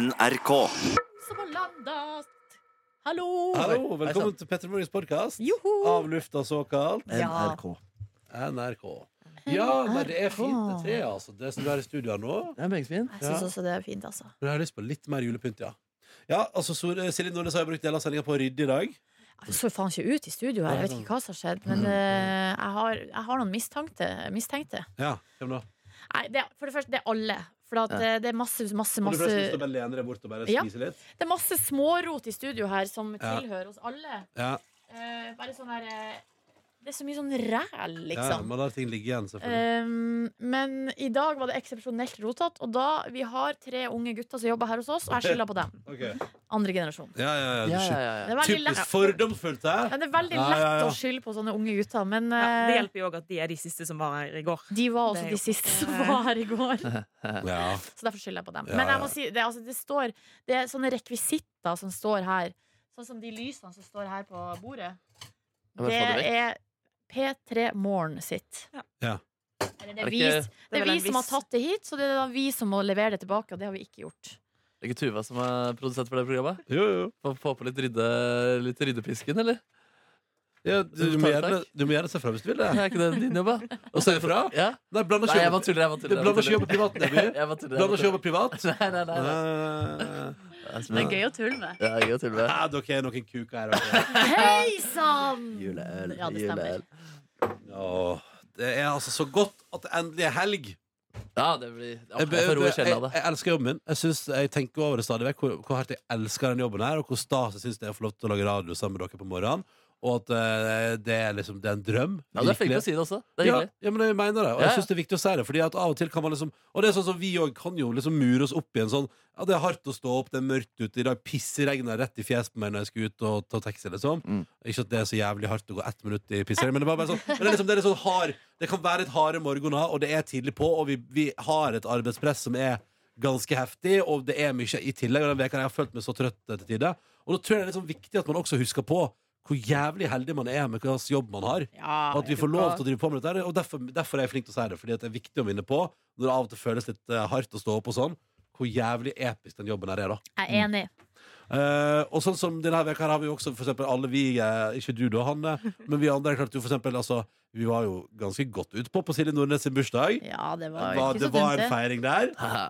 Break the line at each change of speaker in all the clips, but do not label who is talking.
NRK.
som har landet. Hallo!
Hallo,
Oi,
velkommen
hei sann.
til Petter Morgens podkast.
Joho!
Av lufta såkalt.
Ja.
NRK.
NRK. Ja, nei, det er fint, det treet, altså. Det som du har i studio her nå.
Det er meget fint.
Jeg syns
Ja.
også det er fint, altså.
Men jeg har lyst på litt mer julepynt, ja. Ja, altså, Sol- eh, Silje Nordnes har jo brukt deler av sendinga på å rydde i dag.
Jeg så faen ikke ut i studio her, jeg vet ikke hva som har skjedd. Men eh, jeg, har, jeg har noen mistenkte. mistenkte.
Ja, hvem da?
Nei, det, er- for det første, det er alle. For at, eh, det er masse, masse,
Har du
masse
forresten lyst til å bare lene deg bort og bare
Ja.
spise litt?
Det er masse smårot i studio her som
Ja.
tilhører oss alle.
Ja,
Eh, bare sånn der eh, Det er så mye sånn ræl,
ja
liksom.
man lar ting ligge igjen, selvfølgelig.
Um, men i dag var det eksepsjonelt rotete, og da vi har tre unge gutter som jobber her hos oss, og jeg skylder på dem.
Ok.
Andre generasjon.
Ja, ja, ja, du
Ja, ja,
skyld-
ja,
Det
ja.
er veldig
Typisk
lett,
fordomsfullt,
ja,
hæ?
det er veldig
Ja,
lett
ja,
å
ja.
skylde på sånne unge gutter, men
Ja, det
eh,
hjelper jo òg at de er de siste som var her i går.
de var
Det
også
er
de
jo-
siste som var her i går.
Ja.
Så derfor skylder jeg på dem.
Ja,
Men jeg
ja.
må si, det, er altså, det, står, det er sånne rekvisitter som står her, sånn som de lysene som står her på bordet. Det
Jeg bare får det vekk.
er P3 Morgen sitt.
Ja.
Eller
Er
det
det
er vi,
ikke-
det er
vel
vi
en
som har
viss-
tatt det hit, så det er da vi som må levere det tilbake, og det har vi ikke gjort.
Det er ikke Tuva som er produsent for det programmet?
Jo, jo.
Få, få på litt, rydde, litt ryddepisken, eller?
Ja, du, du, må gjerne, du må gjerne se fram hvis du vil det.
Er ikke det din jobb, da?
Og si ifra.
Ja?
Nei, bland
Nei, jeg bare
ikke
tuller. Jeg bare tuller. jeg
Bland
bare
ikke jobb og privat,
tuller.
Neby.
Jeg bare tuller.
Bland ikke
jeg
jobb og privat. Eh,
bare tuller. Nei, nei, nei. nei.
Nei.
Det er så bra.
å tulle med.
Ja, jeg tuller med.
Ja, dere er noen kuker her. Dere.
Hei sann!
Juleøl.
Ja, det stemmer.
juleøl.
Åh, det er altså så godt at det endelig er helg.
Ja, det blir Åh,
Jeg,
Jeg får ro i sjela av
jeg,
det.
jeg elsker jobben min. Jeg, synes, jeg tenker over det stadig vekk hvor, hvor hardt jeg elsker den jobben her, og hvor stas jeg syns det er å få lov til å lage radio sammen med dere på morgenen. Og at eh, det er liksom Det er en drøm.
Ja, du er flink til å si det også. Det er
ja,
hyggelig.
ja, men jeg mener det. Og
Ja, ja.
jeg syns det er viktig å si det. Fordi at av og til kan man liksom Og det er sånn som vi òg kan jo liksom mure oss opp i en sånn Ja, det er hardt å stå opp, det er mørkt ute, i dag pisseregner rett i fjeset på meg når jeg skal ut og ta taxi, liksom.
Mm.
Ikke at det er så jævlig hardt å gå ett minutt i pissering, men det var bare sånn men det, er liksom, det er litt sånn hard Det kan være litt harde morgener, og det er tidlig på, og vi, vi har et arbeidspress som er ganske heftig, og det er mye i tillegg. Og den veka jeg har følt meg så trøtt til tider. Og da tror jeg det er litt sånn viktig at man også husker på hvor jævlig heldig man er med hva slags jobb man har. Og at vi får lov til å drive på med dette. her, Og derfor, derfor er jeg flink til å si det, fordi at det er viktig å minne på, når det av og til føles litt eh, hardt å stå opp og sånn, hvor jævlig episk den jobben her er, da.
Jeg er enig.
Eh, og sånn som denne veka her har vi jo også for eksempel alle vi, eh, ikke du da, Hanne, men vi andre er klart jo for eksempel, altså, vi var jo ganske godt utpå på Silje Nordnes sin bursdag.
Ja, det
Det
var ikke
var, det
så
var
dumt,
en
det.
feiring der.
Haha.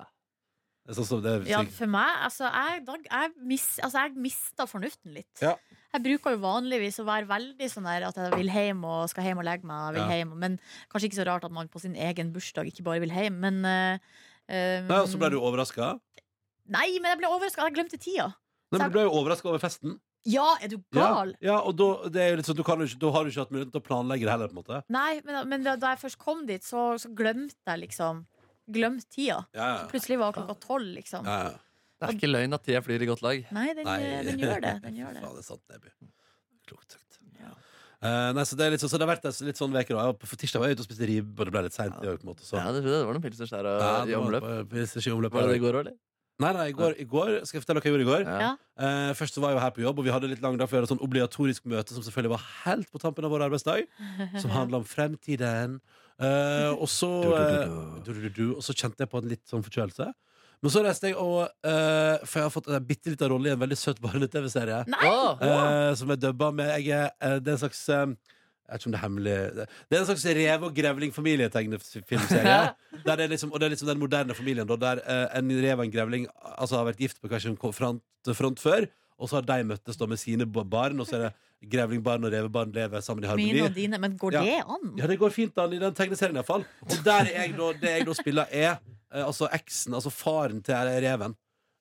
Sånn som det
Ja, for meg, altså, jeg, da, jeg, mis, altså, jeg mista fornuften litt.
Ja.
Jeg bruker jo vanligvis å være veldig sånn der at jeg vil hjem og skal hjem og legge meg. Jeg vil
Ja.
hjem, men kanskje ikke så rart at man på sin egen bursdag ikke bare vil hjem, men eh, eh,
Nei, og så ble du overraska.
Nei, men jeg ble overraska. Jeg glemte tida.
Nei, men du ble jo overraska over festen.
Ja, er du
Ja,
gal?
ja og da, det er jo litt sånn, du kan jo ikke, da har du ikke hatt muligheten til å planlegge det heller, på en måte.
Nei, men, men da, da jeg først kom dit, så, så glemte jeg liksom Glemte tida.
Ja, ja.
Plutselig var klokka tolv, liksom.
ja, ja.
Det er ikke løgn at tida flyr i godt lag.
Nei, den,
Nei.
den eh, gjør det. Den gjør
Fy
det.
faen, er sant, Neby. Mm. Klokt sagt. Eh, nei, så det, er litt sånn, så det har vært en litt sånn veke. da. Jeg var- På tirsdag var jeg ute og spiste ribbe, og det ble litt seint. i dag, på en måte, så-
Ja, det, det var noen pilsers der og,
Sånn. Ja, det
i
var-
omløp.
hvis ikke i omløp,
Var
var
det det i
det-
går òg, eller?
Nei, nei, i går, i går Skal jeg fortelle hva jeg gjorde i går?
Ja.
Ja.
Eh, først så var jeg jo her på jobb, og vi hadde litt lang dag for å gjøre et sånn obligatorisk møte som selvfølgelig var helt på tampen av vår arbeidsdag, som handla om fremtiden. Eh, og så eh, du, du, du, Og så kjente jeg på en litt sånn forkjølelse. Men så reiste jeg, og eh, for jeg har fått en bitte liten rolle i en veldig søt barne-TV-serie.
Nei!
Åh,
Eh, som er dubba med jeg, er, eh, Det er en slags eh, Jeg vet ikke om det er hemmelig Det det er en slags rev- og grevling-familietegnefilmserie. der det er liksom, og det er liksom den moderne familien da, der eh, en rev og en grevling altså, har vært gift på hver sin front, front før. Og så har de møttes da med sine ba- barn, og så er det grevlingbarn og revebarn lever sammen i harmoni.
Mine og dine. Men går
Ja.
det an?
Ja, det går fint an i den tegneserien i hvert fall Og der er jeg da, det jeg da spiller er eh, Altså eksen, altså faren til reven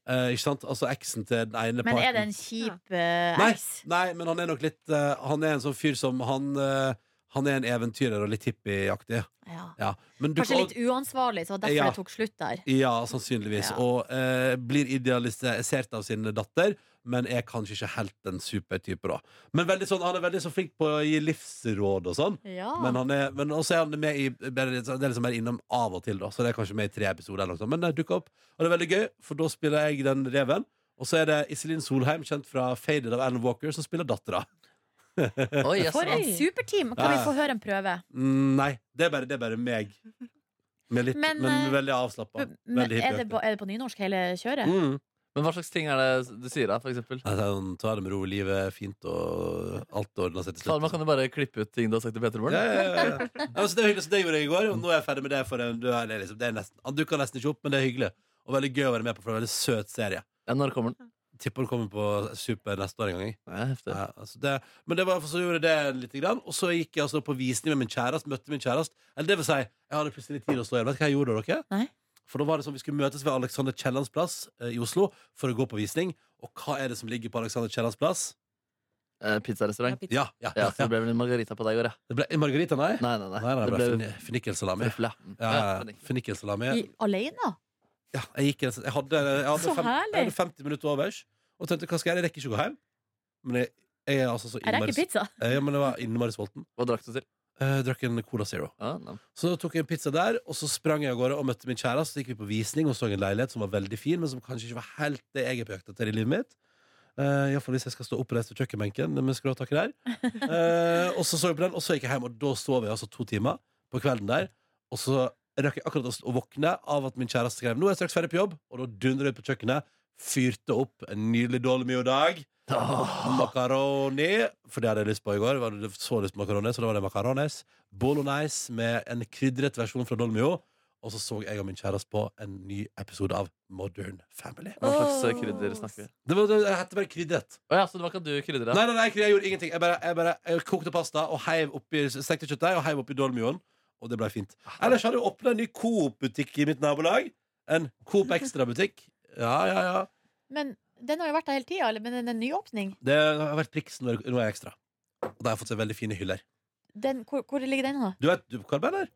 Eh, Ikke sant? Altså eksen til den ene
Men er
parten
det en kjip eh,
Nei,
eks?
nei, men han er nok litt eh, Han er en sånn fyr som Han, eh, han er en eventyrer og litt hippieaktig.
Ja.
Ja. Men du
Kanskje
kan-
litt uansvarlig, så det var derfor
Ja.
det tok slutt der.
Ja, sannsynligvis.
Ja.
Og eh, blir idealisert av sin datter, men er kanskje ikke helt den supertype, da. Men veldig sånn, han er veldig så flink på å gi livsråd og sånn.
Ja.
Men, han er, men også er han med i bare litt sånn- Det er liksom bare innom av og til, da. Så det er kanskje med i tre episoder. Eller noe sånt. Men det dukka opp, og det er veldig gøy, for da spiller jeg den reven. Og så er det Iselin Solheim, kjent fra Faded av Alan Walker, som spiller dattera.
Oi, jaså.
For et superteam! Kan vi
Ja.
få høre en prøve?
Mm, nei, det er bare, det er bare meg. Med litt, men,
Men, eh,
veldig avslappa.
Men
Veldig
er det,
hippieaktig.
på, er det på nynorsk hele kjøret?
Mm.
Men hva slags ting er det du sier da, for eksempel?
Nei, sånn, Ta det med ro, livet er fint, og alt ordner seg til
Faen, man
slutt.
kan jo bare klippe ut ting du har sagt til Peter Morgen.
Ja, ja, ja, ja. Ja, men så det er hyggelig, så det gjorde jeg i går, og nå er jeg ferdig med det. For en- du er liksom, det er nesten, han dukker nesten ikke opp, men det er hyggelig. Og veldig gøy å være med på, for det er en veldig søt serie.
Ja, når kommer den?
Tipper den kommer på Super neste år en gang. jeg.
Ja, heftig.
Ja, altså det, men det var, så gjorde jeg det litt, grann, og så gikk jeg altså på visning med min kjæreste. Møtte min kjæreste. Eller det vil si, jeg hadde plutselig litt tid å stå igjen. Vet du hva jeg gjorde da, dere?
Nei.
For da var det sånn, Vi skulle møtes ved Alexander Kiellands plass eh, i Oslo for å gå på visning. Og hva er det som ligger på Alexander Kiellands plass?
Eh, pizzarestaurant.
Ja, ja,
Ja,
ja,
så det ble vel en margarita på deg i går, ja.
Det ble margarita, nei?
Nei, nei, nei.
Nei, nei, det ble
det
fin- Fennikelsalami.
ble røfla.
Ja,
Ja,
ja,
fennikel.
fennikelsalami.
I, alene?
Ja, jeg gikk rett og slett- Jeg hadde, jeg hadde,
Så
fem, jeg
herlig.
hadde 50 minutter overs og tenkte hva skal jeg gjøre? Jeg rekker ikke å gå hjem. Men jeg, jeg er altså så
Jeg
innmari
rekker pizza.
Eh, Ja, men jeg var innmari sulten.
Hva drakk du til?
Eh, drakk en Cola Zero.
Ja, Ah, nei.
Så da tok jeg en pizza der, og så sprang jeg av gårde og møtte min kjæreste. Så gikk vi på visning og så en leilighet som var veldig fin, men som kanskje ikke var helt det jeg er på jakt etter i livet mitt. Uh, Iallfall hvis jeg skal stå oppreist ved kjøkkenbenken med skråtaket der. Eh, og så så jeg på den, og så gikk jeg hjem, og da sov jeg altså to timer på kvelden der. Og så rakk jeg akkurat å våkne av at min kjæreste skrev 'Nå er jeg straks ferdig på jobb', og da dundret jeg ut på kjøkkenet, fyrte opp en nydelig dolmio-dag.
Åh.
Makaroni, for det hadde jeg lyst på i går. Var det så lyst på makaroni, så da var det makarones. Bolognese med en krydret versjon fra Dolmio. Og så så jeg og min kjæreste på en ny episode av Modern Family.
Hva slags eh,
Åh.
krydder snakker vi?
Det var, det hette bare krydret.
Å ja, så det var ikke at du krydra?
Nei, nei, nei, jeg gjorde ingenting. Jeg bare, jeg bare jeg kokte pasta og heiv oppi stekte kjøttdeig og heiv oppi Dolmioen. Og det ble fint. Ellers hadde jeg åpna en ny Coop-butikk i mitt nabolag. En Coop Extra-butikk. Ja, ja, ja.
Men den har jo vært der hele tida, men den er nyåpning.
Det har vært priksen nå er jeg ekstra. Og da har jeg fått seg veldig fine hyller.
Den, hvor, hvor ligger den, da?
Du vet, du, Karl Berner?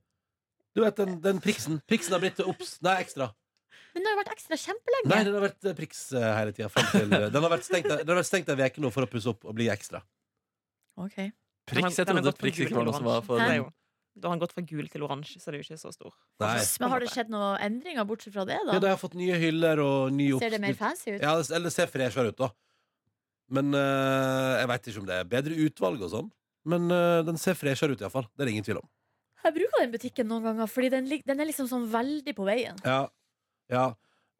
Du vet den, den priksen. Priksen har blitt obs. Nei, ekstra.
Men den har jo vært ekstra
Nei,
kjempelenge!
den har vært eh, priks eh, hele tida. Den har vært stengt den har vært stengt ei uke nå for å pusse opp og bli ekstra.
Ok.
Priks? Jeg
Den har
trodde
gått fra
priks
gul
ikke var
til
noe som var
oransje.
for
Det er
den.
jo- Da har han gått fra gul til oransje, så det er jo ikke så stor.
Nei.
Men har det skjedd noen endringer bortsett fra det,
Ja,
da?
da har jeg fått nye hyller og ny opp...
Ser det mer fancy ut?
Ja, det- eller ser freshere ut, da. Men eh, jeg veit ikke om det er bedre utvalg og sånn. Men eh, den ser freshere ut, iallfall. Det er det ingen tvil om.
Jeg bruker den butikken noen ganger, Fordi den, lig- den er liksom sånn veldig på veien.
Ja, ja.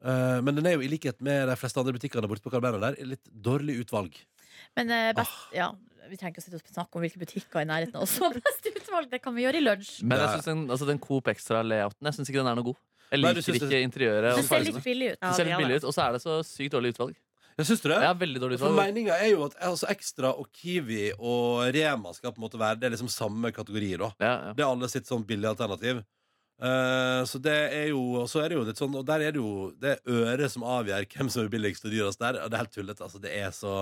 Eh, men den er jo i likhet med de fleste andre butikkene borte på Carl Berner der, litt dårlig utvalg. Ah,
Men eh, best Ja, vi trenger ikke å sitte og snakke om hvilke butikker i nærheten av oss som har best utvalg. Det kan vi gjøre i lunsj.
Men jeg
Nei.
synes den, altså, den Coop Extra-layouten Jeg synes ikke den er noe god. Jeg
Nei, du
liker
synes
ikke
det-
interiøret.
Det
og
ser
fargene.
litt billig ut.
Ja,
Det ser litt
det gjør
billig ut, og så er det så sykt dårlig utvalg.
Ja, syns du det?
Ja, veldig dårlig
For
utvalg.
meninga er jo at altså, Ekstra og Kiwi og Rema skal på en måte være Det er liksom samme kategori, da.
Ja, ja.
Det er alle sitt sånn billig alternativ. Eh, så det er jo Og så er det jo litt sånn Og der er det jo Det er øret som avgjør hvem som er billigst og dyrest der. Og det er helt tullete. Altså, det er så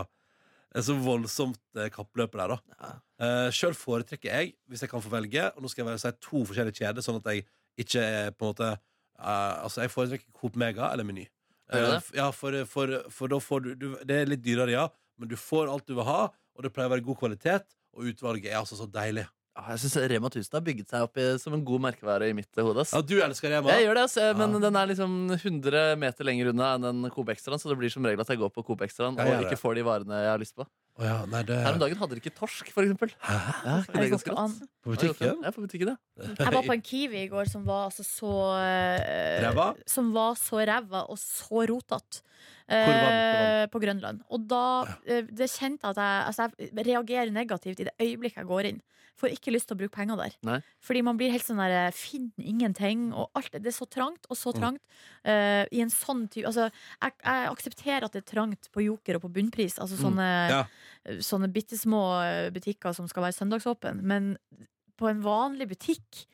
det er så voldsomt eh, kappløp der, da. Uh, Sjøl foretrekker jeg, hvis jeg kan få velge Og nå skal jeg bare si to forskjellige kjeder, sånn at jeg ikke er på en måte eh, Altså, jeg foretrekker Coop Mega eller Meny.
Gjør du
Eh,
det?
f- ja, for, for, for da får du, du Det er litt dyrere, ja, men du får alt du vil ha, og det pleier å være god kvalitet, og utvalget er altså så deilig.
Ja, Ah, Jeg synes Rema 1000 har bygget seg opp i, som en god merkevare i mitt eh, hode. ass.
Ja, du elsker Rema.
Jeg gjør det, ass, eh, men
Ja.
den er liksom 100 meter lenger unna enn den Coop Extraen, så det blir som regel at jeg går på Coop Extraen
Ja,
og
jeg gjør
ikke
det.
får de varene jeg har lyst på.
Å ja, nei, det
Her om dagen hadde de ikke torsk, for eksempel.
Hæ?
Ja, ikke det
Det
er
går
ganske
ikke an.
rått?
På butikken?
Ja, på butikken, ja.
Jeg var på en Kiwi i går som var altså så eh,
Ræva?
Som var så ræva og så rotete.
var den? Hvor var
på Grønland. Og da eh, det kjente jeg at jeg, altså jeg reagerer negativt i det øyeblikket jeg går inn. Får ikke lyst til å bruke penger der.
Nei.
Fordi man blir helt sånn der eh, finner ingenting, og alt Det er så trangt og så
Mm.
trangt. eh, I en sånn type Altså, jeg, jeg aksepterer at det er trangt på Joker og på bunnpris, altså
Mm.
sånne,
Ja.
sånne bitte små eh, butikker som skal være søndagsåpen, men på en vanlig butikk,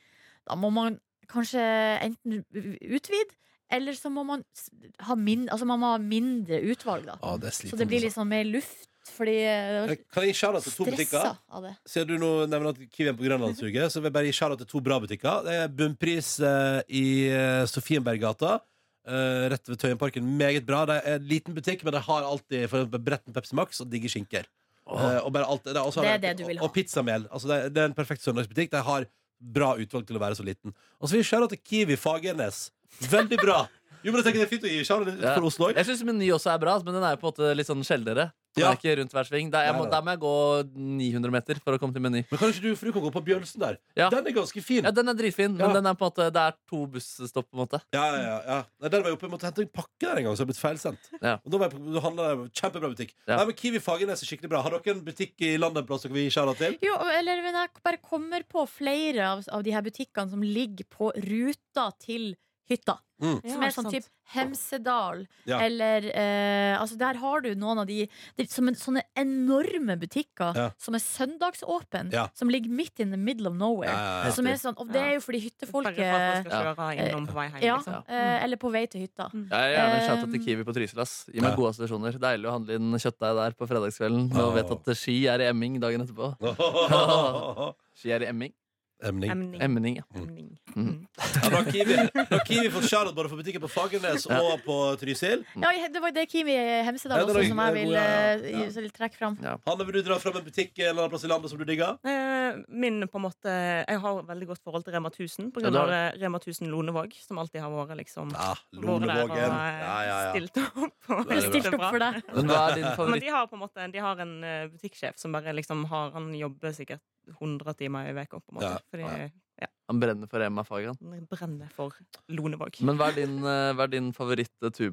da må man kanskje enten utvide, eller så må man s- ha, min, altså man må ha mindre utvalg, da.
Ja, det er
Så det blir liksom mer luft, fordi eh, det
Eh, Kan jeg gi shout
var
til altså. to butikker?
stressa av det.
Siden du nå nevner at Kiwien på Grønland suger, så vil jeg bare gi shout til to bra butikker. Det er Bunnpris eh, i eh, Sofienberggata. eh, rett ved Tøyenparken. Meget bra. Det er en liten butikk, men de har alltid for eksempel bretten Pepsi Max og digge skinker.
Åh.
Eh, og bare alt, det, er også,
Det er det du vil ha.
Og pizzamel. Altså, det, er- det er en perfekt søndagsbutikk. De har bra utvalg til å være så liten. Og så vil jeg shout til Kiwi Fagernes. Veldig bra. Jo, men jeg tenker det er fint å gi Charlotte litt
Ja.
for Oslo.
Jeg syns meny også er bra, men den er jo på en måte litt sånn sjeldnere. Den
Ja.
er ikke rundt hver sving. Der, jeg må,
Nei, nei.
der må jeg gå 900 meter for å komme til meny.
Men kanskje du, for du kan gå på Bjølsen der.
Ja.
Den er ganske fin.
Ja, den er dritfin,
Ja.
men den er på en måte, det er to busstopp, på en måte.
Ja, ja, ja, ja. Nei, der var jeg oppe, jeg måtte hente en pakke der en gang, så jeg ble feilsendt.
Ja.
Og da var jeg på, da handlet jeg Kjempebra butikk.
Ja.
Nei, men Kiwi Fagernes er skikkelig bra. Har dere en butikk i landet en plass dere vil gi skjæra til?
Jo, eller men jeg bare kommer på flere av, av de her butikkene som ligger på ruta til hytta.
Mm.
Som er sånn type Hemsedal
Ja.
eller eh, Altså, der har du noen av de det, er som en, Sånne enorme butikker
Ja.
som er søndagsåpen,
Ja,
som ligger midt in the middle of nowhere.
Ja, ja, ja.
altså.
Som er sånn, og det er jo fordi
Bare for at man
hyttefolket
skal kjøre innom på vei hjem.
ja,
Liksom.
eh, Eller på vei til hytta.
Jeg er gjerne
Eh,
shouta til Kiwi på Trysil. ass. Gi meg
ja.
gode assosiasjoner. Deilig å handle inn kjøttdeig der på fredagskvelden. Og
Åh.
vet at ski er i Emming dagen etterpå. Ski er i Emming.
Emning.
Emning.
Emning, ja.
Emning.
Mm.
Ja, da har Kiwi, da har Kiwi fått skjæra både for butikken på Fagernes og på Trysil.
Ja, det var det Kimi Hemsedal
Ja, det
også
var-
som jeg vil,
ja, ja,
eh,
ja.
så jeg vil trekke fram.
Hanne, vil du dra fram en butikk en eller annen plass i landet som du digger?
Eh, Min på en måte Jeg har veldig godt forhold til Rema 1000
Ja,
pga.
du har
av Rema 1000 Lonevåg, som alltid har vært liksom
Ja,
vært der og
Lonevågen. Ja, ja,
eh,
ja.
stilt opp. Og
Det er
gjort
Stilt
det
opp
bra.
for deg.
Men hva er din
Men
favoritt?
de har på en måte De har en eh, butikksjef som bare liksom har Han jobber sikkert 100 timer i uka, på en måte.
Ja,
Fordi
Han brenner for Emma Fagan.
han brenner for Lonevåg.
Men hva er din, eh, hva er din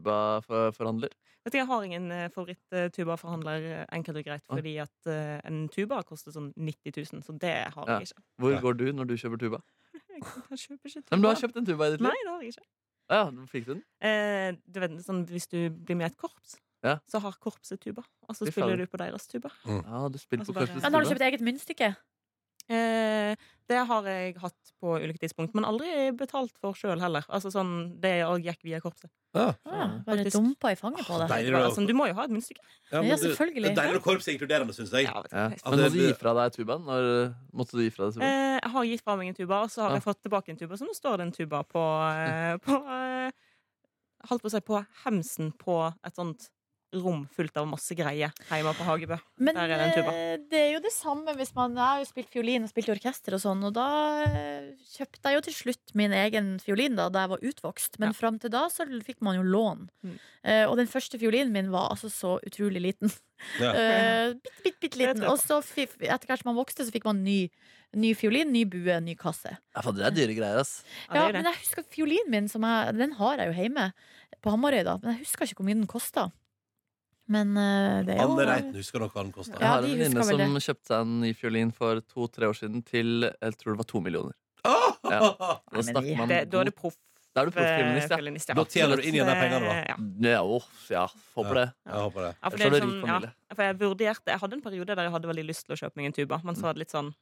favoritt-tuba-forhandler?
Vet du, Jeg har ingen eh, favoritt-tubaforhandler, eh, enkelt og greit, fordi at eh, en tuba koster sånn 90 000, så det har jeg ikke.
Hvor
Ja.
går du når du kjøper tuba?
Jeg kjøper ikke tuba.
Nei, men du har kjøpt en tuba i ditt liv?
Nei, det har jeg ikke.
Ja, du fikk du den?
Eh, du vet, sånn, hvis du blir med i et korps,
Ja.
så har korpset tuba, og så
Fy
spiller
faen.
du på deres tuba.
Ja, du spiller
Altså
på
bare-
Korpsets
Men har du
tuba.
kjøpt eget myntstykke?
Eh, det har jeg hatt på ulike tidspunkt, men aldri betalt for sjøl heller. Altså sånn, Det gikk via korpset.
Ja,
Ja.
bare
Faktisk.
dumpa i fanget på deg.
Deilig,
Det var sånn, du må jo ha et munnstykke.
Ja, men
Ja,
du- Det
selvfølgelig.
er deilig når korps er inkluderende, syns jeg.
Ja, vet du,
Ja.
At
helt
Men
det
måtte du gi
blir-
fra deg tubaen? Når, måtte du gi fra deg tubaen?
Eh, jeg har gitt fra meg en tuba, og så har
Ja.
jeg fått tilbake en tuba. Så nå står det en tuba på, eh,
Mm.
på eh, Holdt på å si på hemsen på et sånt rom fullt av masse greier hjemme på Hagebø.
Men
Der er den tuba.
eh, det er jo det samme hvis man Jeg har jo spilt fiolin og spilt i orkester og sånn, og da eh, kjøpte jeg jo til slutt min egen fiolin da, da jeg var utvokst, men
Ja.
fram til da så fikk man jo lån.
Mm.
Eh, og den første fiolinen min var altså så utrolig liten.
Ja.
Eh, bitte, bitte, bitte liten.
Det tror jeg
Og så fi- etter hvert som man vokste, så fikk man ny, ny fiolin, ny bue, ny kasse.
Ja, faen, det er dyre greier, ass.
det
Ja,
er jo
men
det.
jeg husker fiolinen min, som jeg, den har jeg jo hjemme på Hamarøy, da. Men jeg husker ikke hvor mye den kosta. Men eh, det er jo
Anne Reiten husker nok hva den kosta.
Jeg
Ja,
har
de
en
husker
venninne
vel
som kjøpte seg en ny fiolin for to-tre år siden til jeg tror det var to millioner. Da
Nei, men
snakker
vi-
man
det Da er det
god-
proff.
Da er du proffiolinist, ja.
fiolinist, ja.
Da tjener du inn igjen de
Det-
pengene, da.
Ja.
Ja, åh, ja, håper det.
Jeg håper det.
Ja, for, det
Jeg tror
er
det er rik
sånn, ja,
familie.
for jeg vurderte Jeg hadde en periode der jeg hadde veldig lyst til å kjøpe meg en tuba, men så
Mm.
var det litt sånn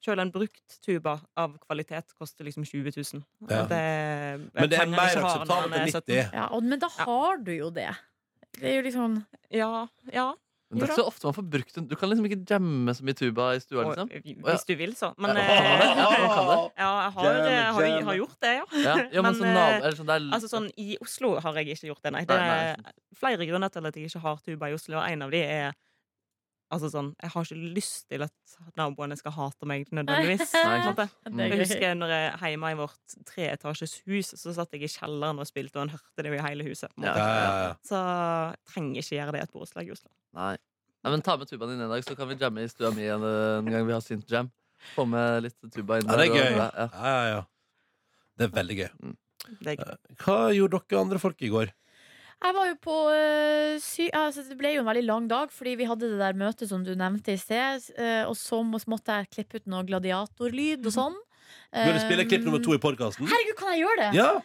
Sjøl en brukt tuba av kvalitet koster liksom 20 000.
Ja.
Det,
Men det er
penger jeg
mer
ikke har når
akseptabelt
man
enn
er 17.
90.
Ja, og, men da
Ja.
har du jo det. Det er jo liksom
Ja, ja.
Men det er ikke så ofte man får brukt den. Du kan liksom ikke jamme så mye tuba i stua, liksom.
Og, hvis du vil, så. Men
Ja.
eh,
Ja, man kan det.
ja, jeg har,
Jam,
jeg har,
jam.
har gjort det, ja.
Ja, ja men
Men,
sånn nabo...
eh,
Eller sånn, det er,
Altså sånn eh, I Oslo har jeg ikke gjort det, nei. Det
Nei,
er flere grunner til at jeg ikke har tuba i Oslo, og en av de er Altså sånn, Jeg har ikke lyst til at naboene skal hate meg nødvendigvis. på
Nei,
en
sant.
måte.
det
Jeg
er
husker
gøy.
jeg når jeg hjemme i vårt treetasjes hus, så satt jeg i kjelleren og spilte, og han hørte det jo i hele huset. på en
Ja.
måte.
Ja, ja, ja.
Så jeg trenger ikke gjøre det i et borettslag i Oslo.
Nei. Nei, men ta med tubaen din en dag, så kan vi jamme i stua mi en, eh, en gang vi har synth-jam. Få med litt tuba inn
Ja, det er
der,
gøy.
og- ja.
Ja, ja, ja. Det er veldig gøy.
Det er gøy.
Hva gjorde dere andre folk i går?
Jeg var jo på øh, sy altså, Det ble jo en veldig lang dag, fordi vi hadde det der møtet som du nevnte i sted. øh, og så må, måtte jeg klippe ut noe gladiatorlyd og sånn. Eh,
Vil du spille klipp nummer to i podkasten?
Herregud, kan jeg gjøre det?
Ja!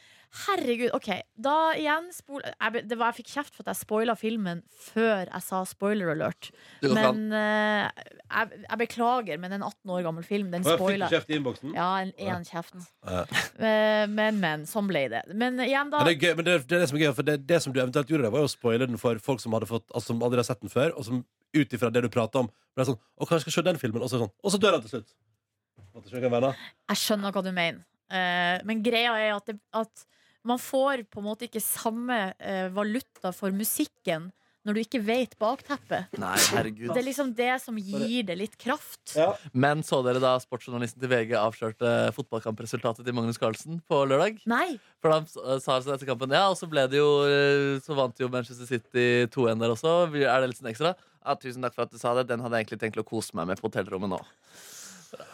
Herregud, ok Da igjen spol jeg, be- det var, jeg fikk kjeft for at jeg spoila filmen før jeg sa spoiler alert.
Du kan
Men eh, jeg, jeg beklager, men en 18 år gammel film, den
Og jeg fikk
spoiler.
kjeft i innboksen.
Ja, en, en kjeft.
Ja.
Eh, Men, men. Sånn ble det. Men igjen, da.
Men det, er gøy, men det, er- det er det som er gøy, for det, det som du eventuelt gjorde, det var jo å spoile den for folk som, hadde fått, altså, som aldri har sett den før, og som ut ifra det du prater om ble sånn Å, kanskje jeg skal se den filmen? Og så, er det sånn, og så dør han til slutt. Måtte ikke jeg være
Jeg skjønner hva du mener. Eh, men greia er at, det, at man får på en måte ikke samme eh, valuta for musikken når du ikke vet bakteppet.
Nei, herregud.
Det er liksom det som gir det litt kraft.
Ja.
Men så dere da sportsjournalisten til VG avslørte fotballkampresultatet til Magnus Carlsen på lørdag?
Nei!
For han eh, sa altså etter kampen Ja, og så ble det jo eh, Så vant jo Manchester City 2-1 der også. Vi- Er det litt sånn ekstra? Ja, tusen takk for at du sa det. Den hadde jeg egentlig tenkt å kose meg med på hotellrommet nå.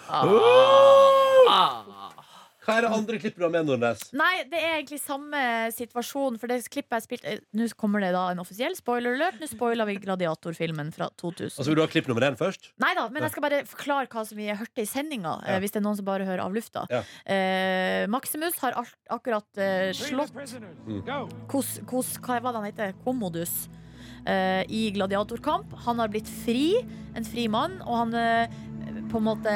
Ah. Ah.
Hva er det andre klippet du har med, Nordnes?
Nei, det er egentlig samme situasjon. For det klippet jeg spilte eh, Nå kommer det da en offisiell spoiler alert. Nå spoiler vi Gladiatorfilmen fra 2000.
Altså, Vil du ha klipp nummer én først?
Nei da, men jeg skal bare forklare hva som vi hørte i sendinga. eh,
Ja.
Hvis det er noen som bare hører av lufta.
Ja.
Eh, Maximus har alt, akkurat eh, slått kos, kos, Hva var det han heter? Commodus. eh, I gladiatorkamp. Han har blitt fri, en fri mann, og han eh, på en måte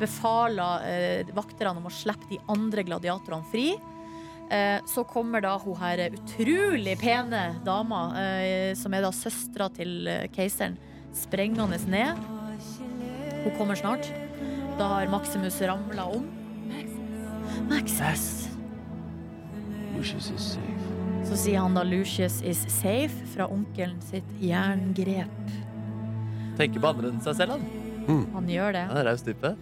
befaler eh, vakterne om å slippe de andre gladiatorene fri. Eh, Så kommer da hun her utrolig pene dama, eh, som er da søstera til eh, keiseren, sprengende ned. Hun kommer snart. Da har Maximus ramla om. Maximus. Så sier han da 'Lucius is safe' fra onkelen sitt jerngrep.
Tenker på andre enn seg selv, han.
Han gjør det.
Han er raus type.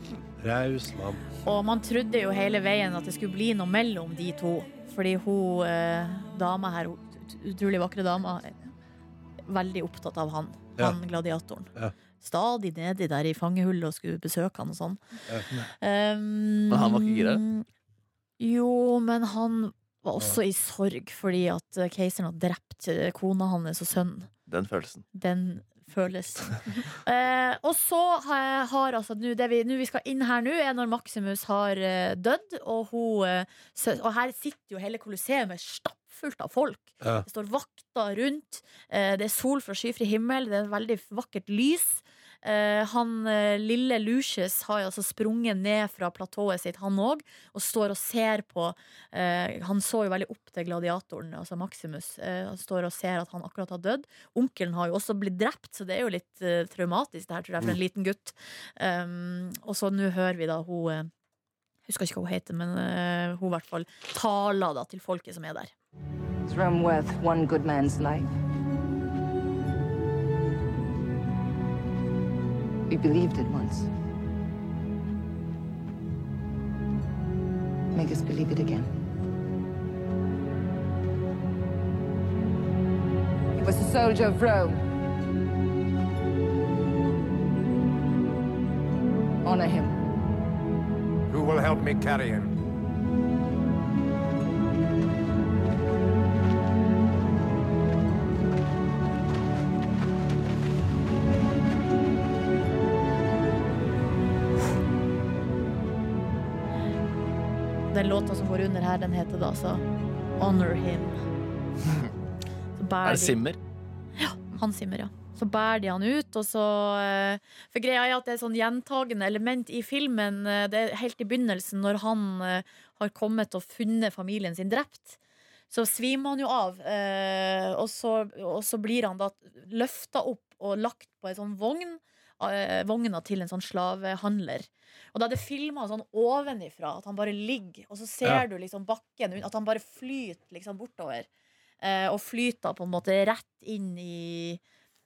Raus mann.
Og man trodde jo hele veien at det skulle bli noe mellom de to. Fordi hun eh, dama her, hun ut- utrolig vakre dama, er veldig opptatt av han.
Ja.
Han gladiatoren.
Ja.
Stadig nedi der i fangehullet og skulle besøke han og sånn. Um,
Men han var ikke gira?
Jo, men han var også i sorg fordi at eh, keiseren har drept eh, kona hans og sønnen.
Den følelsen.
Den føles. eh, og så har, har altså nå det vi, nå vi skal inn her nå, er når Maximus har eh, dødd, og hun eh, sø, Og her sitter jo hele Colosseum stappfullt av folk.
Ja.
Det står vakter rundt. Eh, det er sol fra skyfri himmel. Det er en veldig vakkert lys. Eh, han eh, lille Lucius har jo altså sprunget ned fra platået sitt, han òg, og står og ser på eh, Han så jo veldig opp til gladiatoren, altså Maximus. Eh, han står og ser at han akkurat har dødd. Onkelen har jo også blitt drept, så det er jo litt eh, traumatisk det her, tror jeg,
Mm.
for en liten gutt. Um, og så nå hører vi da hun eh, Husker ikke hva hun heter, men eh, hun i hvert fall taler da til folket som er der.
Is Rome worth one good man's life? We believed it once. Make us believe it again. He was a soldier of Rome. Honor him.
Who will help me carry him?
Den låta som går under her, den heter da altså Honor Him. Så bærer
Er det
de-
Simmer?
Han Simmer, ja. Så bærer de han ut, og så eh, For greia er at det er sånn gjentagende element i filmen. eh, Det er helt i begynnelsen, når han eh, har kommet og funnet familien sin drept. Så svimer han jo av, eh, og så, og så blir han da løfta opp og lagt på en sånn vogn. eh, Vogna til en sånn slavehandler. Og da er det filma sånn ovenifra, at han bare ligger, og så ser
Ja.
du liksom bakken, at han bare flyter liksom bortover. Eh, og flyter på en måte rett inn i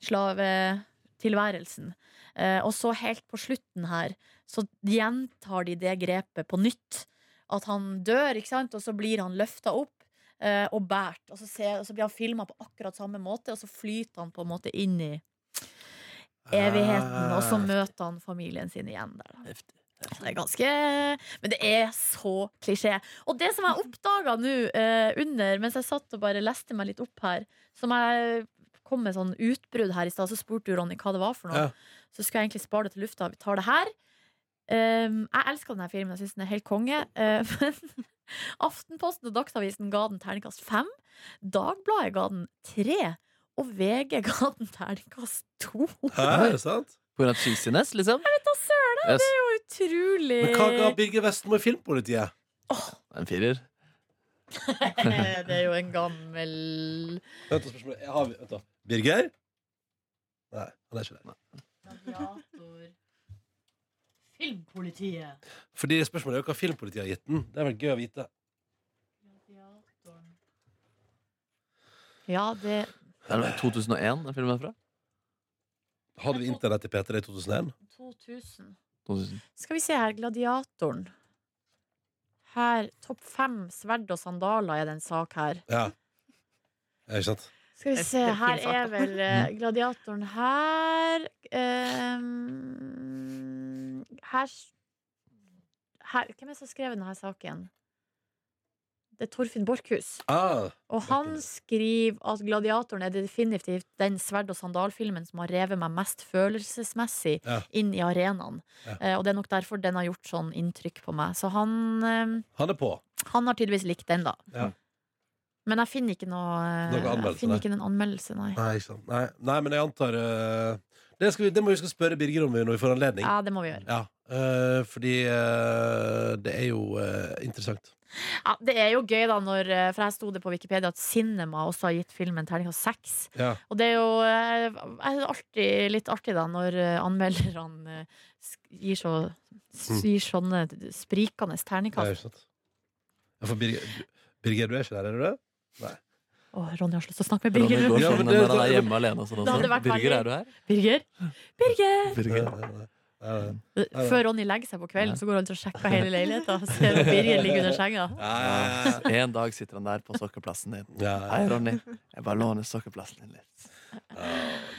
slavetilværelsen. Eh, og så helt på slutten her, så gjentar de det grepet på nytt. At han dør, ikke sant, og så blir han løfta opp eh, og båret. Og, så ser- og så blir han filma på akkurat samme måte, og så flyter han på en måte inn i evigheten. Og så
Eh.
møter han familien sin igjen der, da. Så Det er ganske Men det er så klisjé. Og det som jeg oppdaga nå eh, under, mens jeg satt og bare leste meg litt opp her, som jeg kom med sånn utbrudd her i stad, så spurte du Ronny hva det var for noe.
Ja.
Så skulle jeg egentlig spare det til lufta. Vi tar det her. Um, jeg elsker denne filmen, jeg syns den er helt konge. eh, men Aftenposten og Dagsavisen ga den terningkast fem. Dagbladet ga den tre. Og VG ga den terningkast to.
Hæ, er det sant?
På grunn av cheesiness, liksom? Jeg vet
da
søren! Yes. Det er jo
Utrolig.
Men hva ga Birger Vestmo i Filmpolitiet?
en firer.
Det er jo en gammel
Vent, da, spørsmålet jeg har, vent da. Birger? Nei, han er ikke der.
Filmpolitiet.
Fordi spørsmålet er jo hva Filmpolitiet har gitt den. Det er vel gøy å vite.
Ja, det
Er det 2001 den filmen er fra?
Hadde vi internett i P3 i 2001?
2000.
2000.
Skal vi se her, Gladiatoren. Her, Topp fem sverd og sandaler er det en sak her.
Ja. Ja, Ikke sant?
Skal vi
Det er
se,
en
her
fin sak,
er
da.
vel eh, Gladiatoren her Ehm, Her s- her, Hvem er det som har skrevet denne saken? Det er Torfinn Borchhus.
Ah,
Og han skriver at Gladiatoren er definitivt den sverd- og sandalfilmen som har revet meg mest følelsesmessig
Ja.
inn i arenaen.
Ja.
Eh, og det er nok derfor den har gjort sånn inntrykk på meg. Så han, eh,
han er på.
han har tydeligvis likt den, da.
Ja.
Men jeg finner ikke noe, eh,
Noen
Jeg
anmeldelse,
finner ikke en anmeldelse, nei.
Nei, ikke sant. Nei, nei men jeg antar eh, det, skal vi, det må vi huske å spørre Birger om når vi får anledning.
Ja, det må vi gjøre.
Ja, eh, fordi eh, det er jo eh, interessant.
Ja, det er jo gøy, da, når, eh, for her sto det på Wikipedia at Cinema også har gitt filmen terningkast seks.
Ja.
Og det er jo eh, er det alltid, litt artig da når eh, anmelderne eh, sk- gir, så, s-
Mm.
gir sånne sprikende
Det er
terningkast.
jo sant. Ja, for Birger, Birger, du er ikke der, er du det?
Å, Ronny har slutt å snakke med
Ronny
Birger.
går
Ja,
Birger!
sånn
men det-
når han er hjemme alene og sånn
Det hadde
også.
vært
Birger,
veldig-
er du her?
Birger! Birger!
Birger.
Nei, nei, nei, nei. ja.
Før Ronny legger seg på kvelden, så går han til å sjekke hele leiligheten. og Ser om Birger ligger under senga.
Ja,
En dag sitter han der på sokkeplassen din.
ja,
Hei,
ja.
Ronny. Jeg bare låner sokkeplassen din litt.
Ja,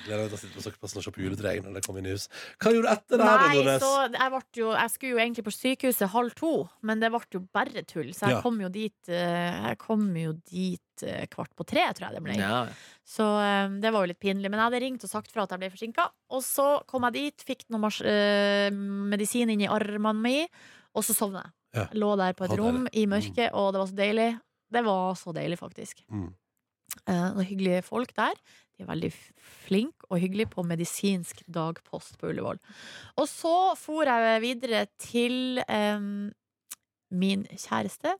Gleder meg til å sitte på sokkeplassen og se på juletreet når det kommer inn i hus. Hva gjorde du etter det her, da,
Nei,
Nordnes?
så jeg, ble jo, jeg skulle jo egentlig på sykehuset halv to, men det ble jo bare tull. Så jeg
Ja.
kom jo dit eh, Jeg kom jo dit eh, kvart på tre, tror jeg det ble.
Ja,
Så eh, det var jo litt pinlig. Men jeg hadde ringt og sagt fra at jeg ble forsinka. Og så kom jeg dit, fikk noe mars eh, medisin inn i armene mine, og så sovna jeg.
Ja.
Jeg Lå der på et
Ha det.
rom i mørket, og det var så deilig. Det var så deilig, faktisk.
Mm.
Eh, det er hyggelige folk der. De er veldig f- flinke og hyggelige på medisinsk dagpost på Ullevål. Og så for jeg videre til eh, min kjæreste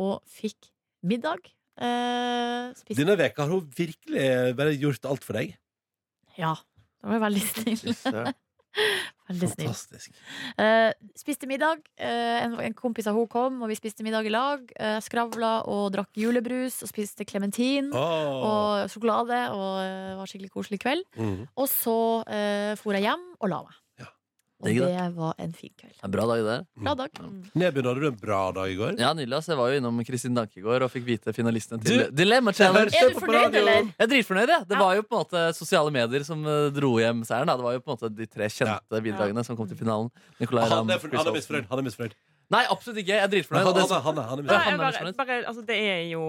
og fikk middag. Eh, spiste
Denne veka har hun virkelig bare gjort alt for deg.
Ja, det var veldig
Fy
snill.
søren.
Veldig snill.
Fantastisk.
Eh, spiste middag. eh, en, en kompis av hun kom, og vi spiste middag i lag. Eh, skravla og drakk julebrus og spiste klementin.
Åh.
Mm. Og sjokolade, og eh, det var skikkelig koselig kveld.
Mm.
Og så uh, for jeg hjem og la meg.
Ja.
Og
Digg, da.
det var en fin kveld. Mm.
Det er en bra dag, det. der.
Bra dag.
Nebyen, hadde du en bra dag i går?
Ja, nydelig. ass. Jeg var jo innom Kristin Dankegård og fikk vite finalistene
Du-
til Dilemma Challenge.
Er du fornøyd, eller?
Jeg er dritfornøyd, jeg. Det
Ja.
var jo på en måte sosiale medier som eh, dro hjem seieren. Da. Det var jo på en måte de tre kjente bidragene som kom til finalen. Nicolai Ramm,
Han er,
Chris
han er
Olsen.
misfornøyd. Han er misfornøyd.
Nei, absolutt ikke. Jeg er
Nei,
dritfornøyd.
han,
Og det,
han, han, er- han er
Nei,
misfornøyd.
jeg
Hanna er
bare,
misfornøyd.
bare, altså, det er jo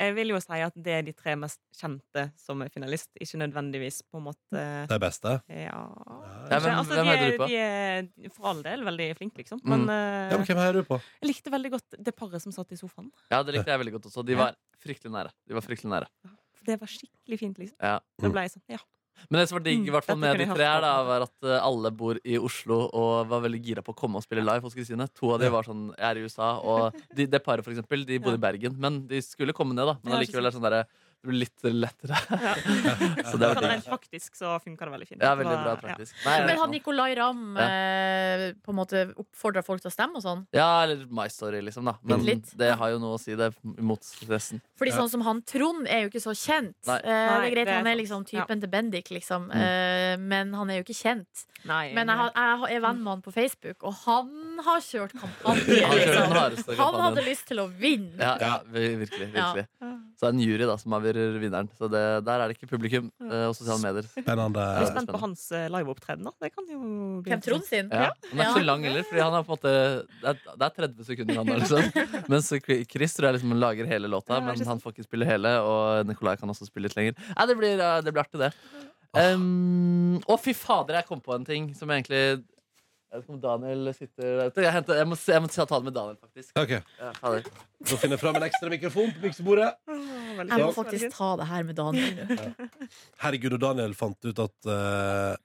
Jeg vil jo si at det er de tre mest kjente som er finalist, ikke nødvendigvis på en måte
Det er beste.
Ja,
Ja,
Kanskje,
hvem-
altså,
hvem
de,
heier du
er,
på?
de er for all del veldig flinke, liksom.
Mm.
Men eh,
Ja, men hvem heier du på?
jeg likte veldig godt det paret som satt i sofaen.
ja, det likte jeg veldig godt også. De var fryktelig nære. De var fryktelig nære.
For det var skikkelig fint, liksom.
Ja.
Da ble jeg sånn, ja.
Men det som var digg i
Mm,
hvert fall
dette
med
kunne
de
jeg
tre,
hatt
her da
på.
var at eh, alle bor i Oslo og var veldig gira på å komme og spille live hos Kristine. To av de
Ja.
var sånn, jeg er i USA, og de, det paret for eksempel, de bodde i Bergen. Men de skulle komme ned, da. Men
Ja, ikke
allikevel er det sånn derre det blir litt lettere.
ja.
Så det var
Men rent
digg.
faktisk så funka det veldig fint.
Ja,
Det
veldig
var- ja.
bra praktisk. Nei, jeg
Men
vet
har
ikke.
Nicolay Ramm
Ja.
eh, på en måte oppfordra folk til å stemme og sånn?
Ja, eller My Story, liksom. da Men
Litt.
det har jo noe å si, det, mot stressen.
Fordi
Ja.
sånn som han Trond er jo ikke så kjent.
Nei.
Eh, det
Nei,
er greit,
det er
han er
sant.
liksom
Ja.
typen til Bendik, liksom. Eh, men han er jo ikke kjent.
Nei,
Men jeg, har- jeg har- er venn med han på Facebook, og han har kjørt kampanje.
Han kjører den
Liksom. Han
hardeste kampanjen.
hadde lyst til å vinne.
Ja, ja vi- virkelig.
Ja.
virkelig Så det er en jury da som avgjør vinneren. Så det, der er det ikke publikum eh, og sosiale medier.
Spennende.
Jeg er
Ja.
spent på hans eh, liveopptreden, da. Det kan jo bli
Hvem Trond sin?
Ja. Han er ikke
Ja.
så lang heller, Fordi han er på en måte det er, det er 30 sekunder han har. Liksom. Mens Chris tror jeg liksom lager hele låta,
Ja,
men
ikke
han får ikke spille hele. Og Nicolai kan også spille litt lenger. Nei, det blir, eh, det blir artig, det. Um, å, fy fader, jeg kom på en ting som egentlig Jeg vet ikke om Daniel sitter der ute. Jeg, henter, jeg, må, se- jeg må ta det med Daniel, faktisk.
Ok,
Ja, fader.
Nå finner jeg fram en ekstra mikrofon på miksebordet.
Veldig
Jeg må
fint.
faktisk ta det her med Daniel.
Herregud, og Daniel fant ut at eh,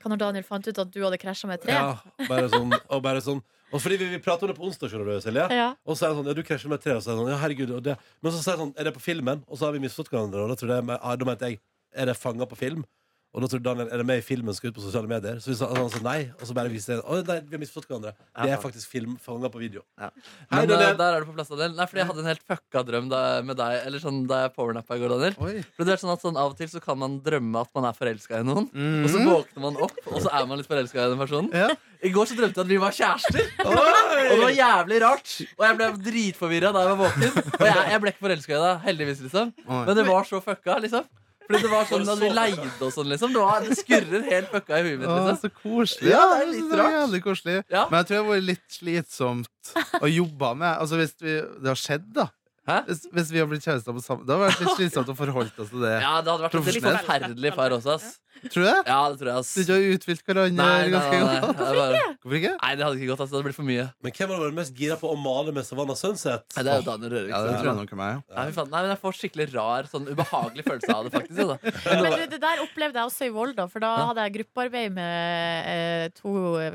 Hva Når Daniel fant ut at du hadde krasja med et tre?
Ja, bare sånn. Og bare sånn Og fordi vi, vi prater om det på onsdag, skjønner du, Silje.
Ja.
Og så er det sånn, ja, du krasjer med et tre, og så er det sånn, ja, herregud. Og det. Men så sier jeg sånn, er det på filmen? Og så har vi misforstått hverandre, og da tror jeg, men- ah, da mente jeg, er det fanget på film? Og da tror Daniel, er det med i filmen som skal ut på sosiale medier? Så vi sa, han sa nei, og så bare viste jeg Å nei, vi har misforstått hverandre. Det
Ja.
er faktisk film fanget på video.
Ja.
Hei,
Men eh,
Daniel!
der er du på plass, Daniel. Nei, fordi jeg hadde en helt fucka drøm da, med deg Eller sånn da jeg powernappa i går, Daniel.
Oi.
For det er sånn at sånn, Av og til så kan man drømme at man er forelska i noen,
Mm.
og
Mhm.
så våkner man opp, og så er man litt forelska i den personen.
Ja.
I går så drømte jeg at vi var kjærester, og det var
Oi!
jævlig rart. Og jeg ble dritforvirra da jeg var våken. Og jeg, jeg ble ikke forelska i deg, heldigvis, liksom. Men det var så fucka, liksom. Fordi det var sånn at vi leide og sånn, liksom. Det, var, det skurrer helt fucka i huet mitt,
Å,
liksom.
så koselig.
Ja, det er
jeg synes
litt
var
rart.
Jævlig koselig.
Ja.
Men jeg tror det har vært litt slitsomt å jobbe med. Altså, hvis vi, det har skjedd, da.
Hæ?
Hvis, hvis vi har blitt kjærester på sammen Det har vært litt slitsomt å forholde oss til det.
Ja, det hadde vært et litt
Profesjonelt.
forferdelig par også, ass.
Tror du det?
Ja, det tror jeg, ass.
Hvis vi ikke har utfylt hverandre
Nei, nei,
ganske
nei, nei.
godt.
Det var-
Hvorfor ikke?
Nei, det hadde ikke gått. ass. Det hadde blitt for mye.
Men hvem hadde vært mest gira på å male med Savannah Sunset?
Nei, det er jo Daniel Rørvik.
Ja, det
som-
tror jeg nok er meg.
Nei, fy faen. Nei, men jeg får skikkelig rar, sånn ubehagelig følelse av det, faktisk. Da.
Men du, det der opplevde jeg også i Volda, for da
Ja.
hadde jeg gruppearbeid med eh, to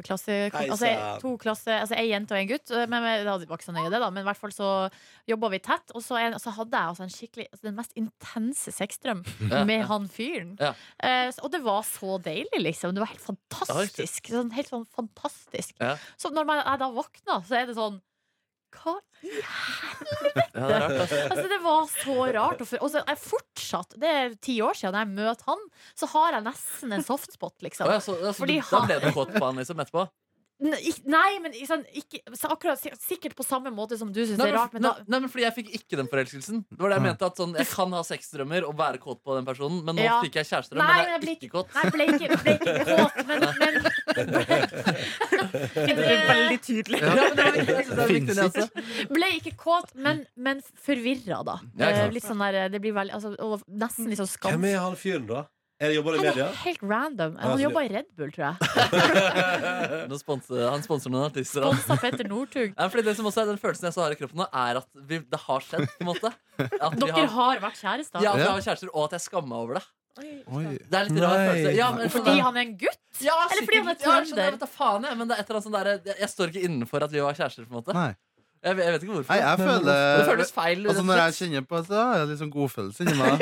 klasse...
Hei,
Altså,
sann.
to klasse, altså ei jente og en gutt. Men, men det hadde- var ikke så nøye, det, da. Men i hvert fall så jobba vi tett. Og så, en, så hadde jeg altså en skikkelig altså, Den mest intense sexdrøm
Ja.
med han fyren.
Ja.
Eh, s- og det var så deilig, liksom. Det var helt fantastisk. Sånn, helt sånn fantastisk.
Ja.
Så når man, jeg da våkna, så er det sånn Hva
Ja, det er rart, ass.
Altså, det var så rart. Og, for, og så er jeg fortsatt, det er ti år siden jeg møter han, så har jeg nesten en softspot,
Å,
liksom.
ja, så, ja, så
Fordi
du, da
han-
ble du kåt på han liksom etterpå?
N- ikk- Nei, men ikke sånn, ikke, så akkurat, si- sikkert på samme måte som du syns
Nei
det er
men,
rart, men da
nei, nei, men fordi jeg fikk ikke den forelskelsen. Det var det jeg mente at sånn, Jeg kan ha sexdrømmer og være kåt på den personen, men nå
Ja.
fikk jeg kjærestedrøm.
Nei,
Men jeg er
men
ikke kåt.
Nei, ble ikke, ble ikke kåt, men, men
Det blir veldig tydelig.
Ja, men det var viktig, jeg synes det er viktig, det, altså.
Ble ikke kåt, men, men forvirra, da.
Ja, ikke sant.
Eh, Litt sånn der, det blir veldig altså, og Nesten litt sånn skam.
Hvem er han fyren, da? Er det jobber i
Han
media?
er helt random.
Ja,
Han
så-
jobba i Red Bull, tror jeg.
Nå sponser, han sponser noen artister. Han.
Sponsa Petter Northug.
Nei, fordi det som også er Den følelsen jeg så har i kroppen nå, er at vi, det har skjedd. på en måte At vi
Dere
har,
har vært kjærester?
ja, at vi har kjærester, og at jeg skammer meg over det.
Oi.
Det er litt rar
Nei.
følelse. Ja, men,
Fordi han er en gutt?
Ja,
Eller fordi han er
sikkert. Ja, jeg skjønner,
trønder.
jeg vet da faen, jeg, men det er et eller annet sånn derre- jeg, jeg står ikke innenfor at vi var kjærester, på en måte.
Nei.
Jeg, jeg vet ikke hvorfor.
Nei, jeg føler
det føles feil.
Altså Når jeg kjenner på det, så har jeg litt sånn godfølelse inni meg.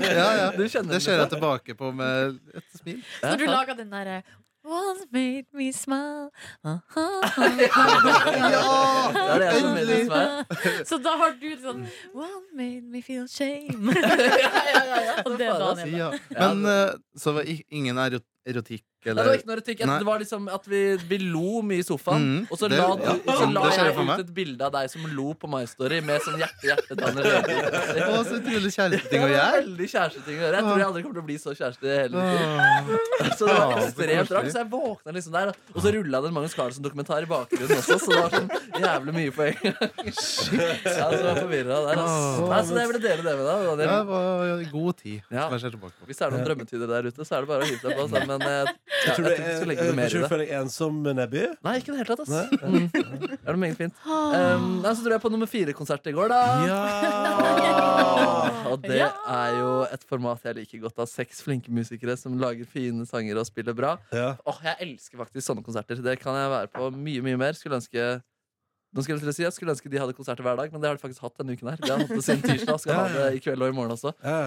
Ja, ja.
Du kjenner
Det
det.
ser jeg tilbake på med et smil.
Når du lager den derre Once made me smile
Ja!
Det er det jeg som mener som er.
Så da har du sånn One made me feel shame. Og det er
faen,
Daniel.
ja. Men eh, så var i- ingen ero- erotikk
Nei, Mm. det var
eller
ikke noe erotikk. Jeg-
Nei.
Det var liksom at vi, vi lo mye i sofaen,
Mhm.
og så
Det-
la, du-
ja.
så la
Det skjer
jeg
for meg.
ut et bilde av deg som lo på My Story med sånn hjerte-hjerte-tanner.
Å, så utrolig kjæresteting å gjøre.
Veldig kjæresteting å gjøre. Jeg tror jeg aldri kommer til å bli så kjæreste i hele mitt liv.
Åh.
Så det var ekstremt
Ja, så
rart. Så jeg våkna liksom der, og så rulla det en Magnus Carlsen-dokumentar i bakgrunnen også, så det var sånn jævlig mye poeng. Ja, så jeg var forvirra der, ass. Nei, så jeg ville dele det med deg.
Det
Daniel.
var god tid.
Ja.
Som jeg ser tilbake på.
Hvis det er noen drømmetyder der ute, så er det bare å hive seg på. ass. Men eh, ja,
Tror
jeg tror
du
ikke vi skal legge noe mer i
du
det.
føler deg ensom, Nebby?
Nei, ikke i det hele tatt, ass. Mm. Det er noe meget fint. Um, nei, så dro jeg på nummer fire-konsert i går, da.
Ja!
Og det er jo et format jeg liker godt av seks flinke musikere som lager fine sanger og spiller bra.
ja.
Åh, jeg elsker faktisk sånne konserter. Det kan jeg være på mye, mye mer. Skulle ønske nå skulle jeg, til å si, jeg skulle ønske de hadde konserter hver dag, men det har de faktisk hatt denne uken. her Det har de hatt det siden tirsdag, skal ha det i kveld og i morgen også
Ja.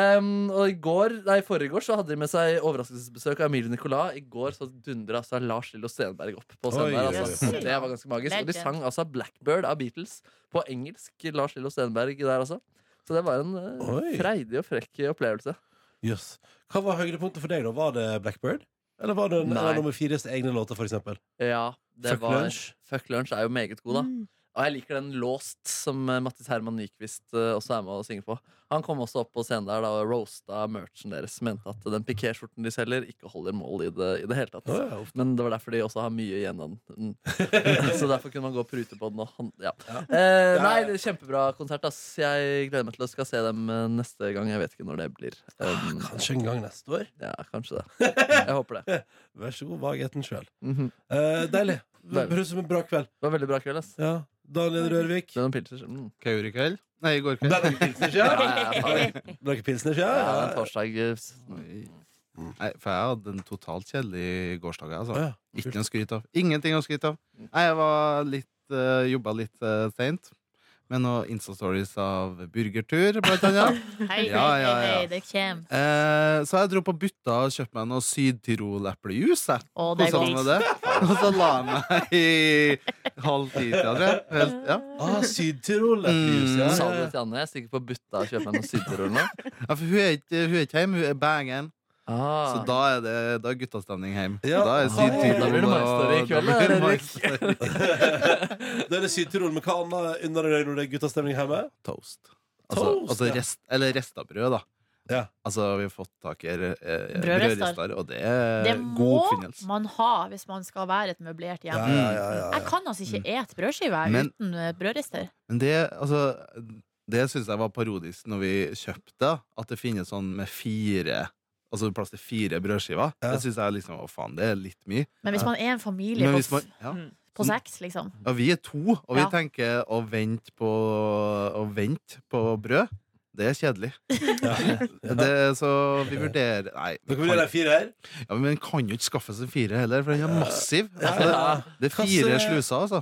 Em, Og i går, nei, forrige går så hadde de med seg overraskelsesbesøk av Emilie Nicolas. I går så dundra altså Lars Lillo Stenberg opp
Oi,
på scenen. der altså.
yes.
Det var ganske magisk. Og de
Legend.
sang altså Blackbird av Beatles på engelsk. Lars Lillo Stenberg der, altså. Så det var en eh,
Oi.
freidig og frekk opplevelse.
Jøss. Hva var høydepunktet for deg, da? Var det Blackbird? Eller var det
Nei.
eller nummer fires egne låter, for eksempel?
Ja, det
Fuck
var,
Lunch.
Fuck Lunch er jo meget god, da. Og jeg liker den Låst, som eh, Mattis Herman Nyquist eh, også er med og synger på. Han kom også opp på scenen der da, og roasta merchen deres. Mente at den pikéskjorten de selger, ikke holder mål i det, i det hele tatt.
Å, ja, uff.
Men det var derfor de også har mye igjen av den. Mm. Så derfor kunne man gå og prute på den. Og han, ja. Eh, nei, det er kjempebra konsert. Ass. Jeg gleder meg til å skal se dem eh, neste gang. Jeg vet ikke når det blir.
Ah,
Um,
Kanskje en gang neste år?
ja, kanskje det. Jeg håper det.
Vær så god, vagheten sjøl.
Mhm.
Eh, deilig. Det
Deilig.
høres ut som en bra kveld.
Det var veldig bra kveld, ass.
Ja. Daniel Rørvik.
Det er noen pilsers. Mm.
Hva gjorde du i kveld? Nei, i går kveld.
Drakk pilsner, ja?
Ja, ja, ja, faen.
Drakk pilsner, ja?
ja, det er torsdag. eh,
Oi. Nei, for jeg hadde en totalt kjedelig gårsdag. Altså.
Ja.
Ikke eh, noe skryt av. Ingenting å skryte av. Nei, jeg var litt uh, jobba litt uh, seint. med noen Insta-stories av burgertur, blant annet.
Hei, hei,
Ja, ja,
hei,
ja.
hei, det kommer.
Eh, så jeg dro på butta og kjøpte meg noe Syd-Tirol-eplejus. jeg.
Å, det er
Kosa
godt.
meg med det. Og så la jeg meg i halv ti-tida, tror jeg. Helt, ja.
Ah, Syd-Tirol. eplejus, ja,
Mm, Sa
ja,
du det
ja.
til Anne? Jeg stikker på butta og sånn kjøper meg noen sydderull nå.
ja, for hun er ikke hun er ikke hjemme, hun er Bergen. Så
Ah.
da er det da er guttastemning hjemme.
Ja.
Da er Syd-Tirol
Da blir det
og-
Mai-story i kveld,
da blir det
Erik.
Mai-story.
Da er det Syd-Tirol med hva annet unner du deg når det er guttastemning hjemme?
Toast. Altså,
Toast,
altså
ja.
rest, eller resta brød, da.
Ja.
Altså, vi har fått tak i eh, eh,
Brødrester.
brødrester, og det er
Det
Eh, god
må
oppfinnelse.
man ha hvis man skal være et møblert hjem.
Ja, ja, ja, ja,
Mm.
Jeg
ja.
kan altså ikke ete brødskive jeg,
mm. Men-
uten eh, brødrister.
Men det, altså, det syns jeg var parodisk når vi kjøpte det, at det finnes sånn med fire Altså plass til fire brødskiver.
Ja.
Det syns jeg liksom, å faen, det er litt mye.
Men hvis
Ja.
man er en familie
Men
på,
hvis man, ja.
på seks, liksom
ja, vi er to, og vi
Ja.
tenker å vente på, å vente på brød. Det er kjedelig. Det, så vi vurderer Nei.
Dere blir de fire her.
Ja, men den kan jo ikke skaffe seg fire heller, for den er massiv. Altså, det, det er fire
Kasse-
sluser, altså,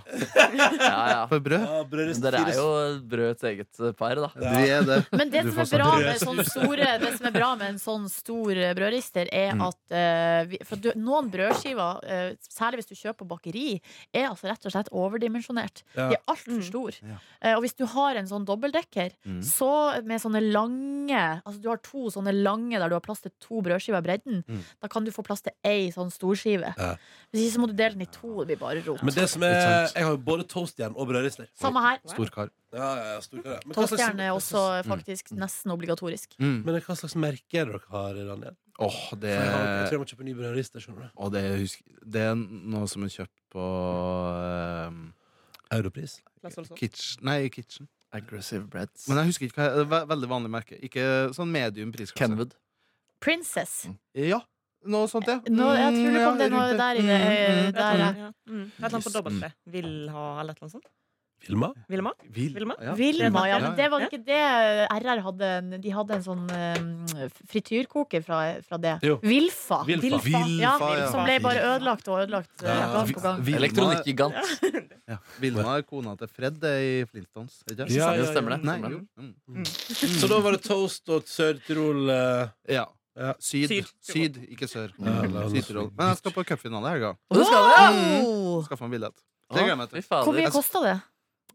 Ja, ja.
for brød.
Ja, brødrist,
Dere
fire
er jo brødets eget eh, par, da.
Ja.
Vi er det.
Men det
Du
som,
får
er bra
sånn
med sånne store, det som er bra med en sånn stor eh, brødrister, er
Mm.
at eh, vi, for du, noen brødskiver, eh, særlig hvis du kjøper på bakeri, er altså rett og slett overdimensjonert.
Ja.
De er altfor
Mm.
store.
Ja.
Eh, og hvis du har en sånn dobbeltdekker,
Mm.
så med sånne lange Altså du har to sånne lange der du har plass til to brødskiver i bredden,
Mm.
da kan du få plass til ei sånn storskive.
Ja.
Hvis ikke så må du dele den i to, det blir bare rot.
Men det som
Ikke
er
sant.
Jeg har jo både toastjern og brødrister.
Samme her.
Stor kar.
Ja, ja, ja, stor kar, ja. Men hva slags-
Toastjern er også faktisk nesten obligatorisk.
Mm.
Men hva slags merke er det dere har, Daniel?
Åh,
For
det
jeg, har, jeg tror jeg må kjøpe ny brødrister. skjønner du
Og det, husk, det er noe som er kjøpt på eh,
Europris.
Kitchen Nei, Kitchen.
Aggressive breads.
Men jeg husker ikke hva det er ve- Veldig vanlig merke. Ikke sånn medium prisklasse.
Kenwood.
Princess.
Ja, noe sånt, ja.
Nå, jeg tror det
Mm,
kom det
ja,
noe
rundt Mm,
der i det, eh,
Et eller
der,
annet, ja. Mm. Et eller annet på dobbelt B.
Mm.
Vil ha, eller et eller annet sånt.
Vilma?
Vilma?
Vil-
Vilma?
ja.
Vilma, ja.
Ja,
Men
ja.
det var ikke det RR hadde. en- De hadde en sånn eh, frityrkoker fra, fra det.
Jo.
Vilfa.
Vilfa.
ja,
Vilfa, ja.
Som ble bare ødelagt og ødelagt eh,
Ja.
gang på gang.
Vilma-
Elektronikkgigant.
Ja. Vilma er kona til Fred det er i Flintstones. Ikke?
Ja,
Ja, stemmer det.
Nei,
Stemmer
jo.
det.
Mm.
Så da var det toast og Sør-Tirol eh,
Ja.
Ja.
Syd.
Syd.
Syd, ikke sør.
Ja, la oss-
Syd-Tirol. Men jeg skal på cupfinale i helga.
Og det Altså- skal vi!
Wow!
Skaffe meg billett.
Ah,
Det gleder jeg meg
Fy
til.
Hvor mye
fader.
kosta det?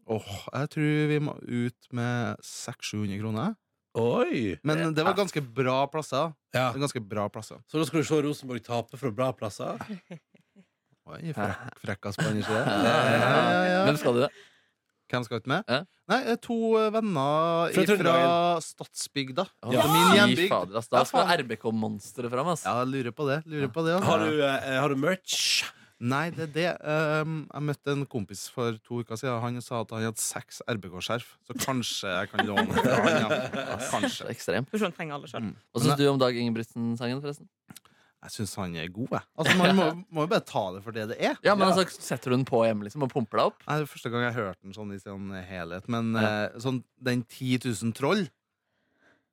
Åh, jeg tror vi må ut med 600-700 kroner.
Oi!
Men det var ganske bra plasser.
Ja.
Det var Ganske bra plasser.
Så da skal du se Rosenborg tape fra bra plasser?
Oi, frekk, frekka spanjer ikke det?
Ja, ja, ja, ja. Hvem
Men
skal du det?
Hvem skal ut med?
Ja.
Nei, eh, to eh,
Fra
venner fra
Trøndelag.
Stadsbygda.
Ja.
Fra Min
Fy
hjembygd.
fader, ass. Da skal RBK-monsteret fram, ass.
Ja, jeg lurer på det. Lurer på det altså.
Har du, eh, har du merch?
Nei, det er det. Ehm, jeg møtte en kompis for to uker siden. Han sa at han hadde seks RBK-skjerf. Så kanskje jeg kan låne det fra han. Ja.
Så
Kanskje.
ekstrem.
Personen trenger alle sjøl.
Hva syns du om Dag Ingebrigtsen-sangen, forresten?
Jeg syns han er god, jeg. Altså, man må, må jo bare ta det for det det er.
Ja, men altså, Setter du den på hjemme liksom, og pumper deg opp?
Nei, det er første gang jeg hørte den sånn i sin helhet. Men eh, sånn den 10 000 troll
Jeg,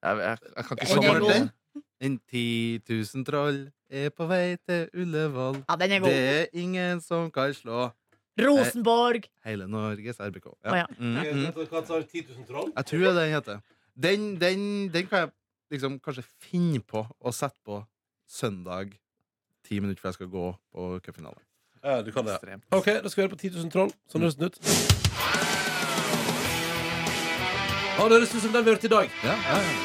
jeg, jeg kan ikke
Den er
komme
god.
på den.
En 10 000 troll er på vei til Ullevål.
Ja, den er
Det
god.
er ingen som kan slå
Rosenborg.
hele Norges RBK.
Å, ja.
Mm,
Mhm.
mm.
Hva tar 10 000 troll?
Jeg tror det den heter. Den, den, den kan jeg liksom kanskje finne på å sette på søndag ti minutter før jeg skal gå på cupfinale.
Ja, du kan det. ja.
Ekstremt.
Ok, da skal vi høre på 10 000 troll. Sånn høres den ut. Ja, det høres ut som den vi hørte i dag.
Ja, ja, ja.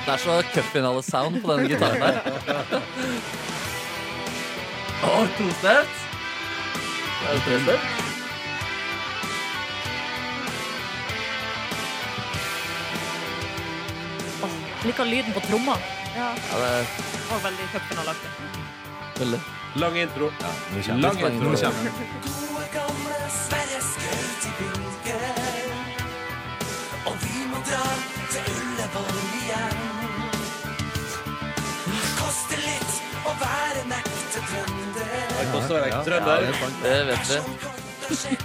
Det er så cupfinale-sound på den gitaren der. Å, tosett! Er det trøster?
Åh, Liker lyden på tromma.
Ja, det er
Og veldig cupfinaleaktig.
veldig
Lang intro.
Lang intro.
Det koster å være ekte
Ja,
trønder.
det er sant.
Det vet vi.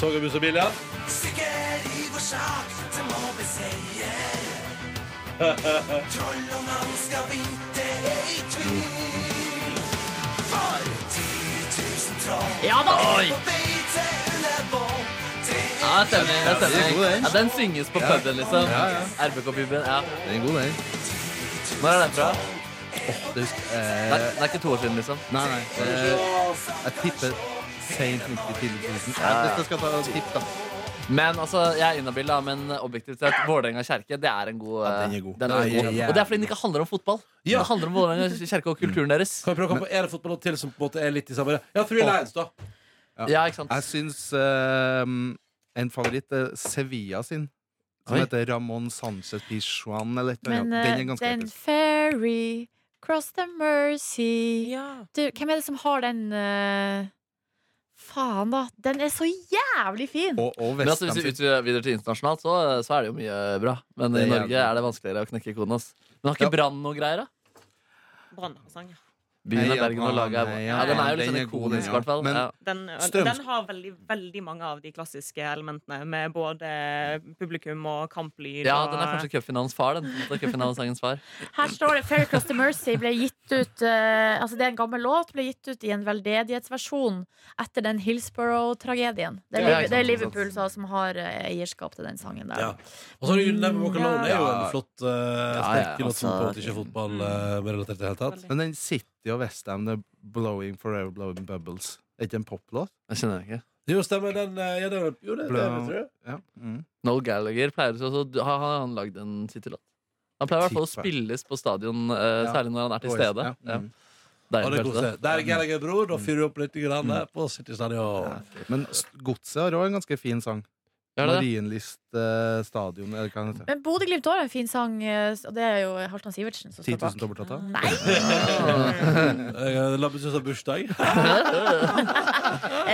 Tog og buss og bil, ja.
Sikker i vår sak, det må bli
Ja da!
Ja, det stemmer. Det
Den er god,
stemmer.
den.
Ja, den synges på puben, liksom.
Ja, ja.
RBK-puben. ja
Den er god, den.
Når er den fra?
Det husker, eh,
Nei, det er ikke to år siden, liksom.
nei, nei. Eh, jeg tipper sent 90 tidlig 2000. Ja, dette skal jeg ta og tippe, da.
Men altså, Jeg er inhabil, da, men objektivt sett, Vålerenga-Kjerke det er en god eh,
Ja, den er god.
Den er
Nei,
god.
ja.
Og det er fordi den ikke handler om fotball.
Ja.
Det handler om Vålerenga-Kjerke og kulturen deres.
Kan vi prøve å komme på en fotballåt til som på en måte er litt i samme Ja, Three Lions, da.
Ja.
Ja, ikke sant?
Jeg syns eh, en favoritt er Sevilla sin. Som
Oi.
heter Ramón Sánchez Pichuan. Eller et eller
Men
annet. Den er
eh,
ganske
den
episk.
ferry Cross the Mercy
Ja.
du, Hvem er det som har den eh, Faen, da. Den er så jævlig fin!
Og, og
Men altså,
Westham
Hvis vi
sin.
utvider videre til internasjonalt, så, så er det jo mye bra. Men
Det
i
er
Norge
jævlig.
er det vanskeligere å knekke koden. Ass. Men har ikke
Ja.
Brann noe greier, da?
Brannarsang. ja.
Byen
Heia
er Bergen og
Brann,
laget er
heia
Ja, den er jo
Brann.
litt sånn
Den er god, den,
ikonisk, i
ja.
hvert fall.
Men-
Ja.
Den, øh,
Strøms-
den har veldig, veldig mange av de klassiske elementene, med både publikum og kamplyd.
ja,
og-
den er kanskje cupfinalens far, den. Den er Cupfinalesangens far.
Her står det Fair Cross the Mercy ble gitt ut eh, Altså, det er en gammel låt, ble gitt ut i en veldedighetsversjon etter den Hillsborough-tragedien. Det, er
Ja,
Liv-
ikke sant,
det er
ikke sant.
Liverpool sa, som har eh, eierskap til den sangen der.
Ja. Og så har du You Never Walk Alone. Det er jo en
Mm, Ja. mm.
flott, uh,
ja,
sterk låt som på en måte ikke er
altså-
fotball eh, med relatert i det hele tatt.
Men den City og Westham, det er Blowing Forever Blowing Bubbles. Er ikke en poplåt?
Jeg kjenner den ikke.
Jo, stemmer den. eh, Ja, det var, jo, det, det,
Blå-
tror jeg.
Ja. Mm.
Noel Gallagher pleier også å ha har han lagd en City-låt. Han pleier i hvert fall å
Tipper.
spilles på stadion, eh,
Ja.
særlig når han er til stede.
Ja.
Ja.
Mm.
Det
Ja, det er
er kanskje det. Mm.
koselig. Der er Gallagher, bror. Da fyrer du opp litt grann eh, på City Stadion.
Men s- Godset har òg en ganske fin sang.
Ja, det er det.
Marienlyst eh, stadion, eller hva heter det?
Men Bodø-Glimt har en fin sang, eh, og det er jo Halvdan Sivertsen som står
10 000
bak.
dobbelttatta?
Nei!
Eh, Labbeshus har bursdag.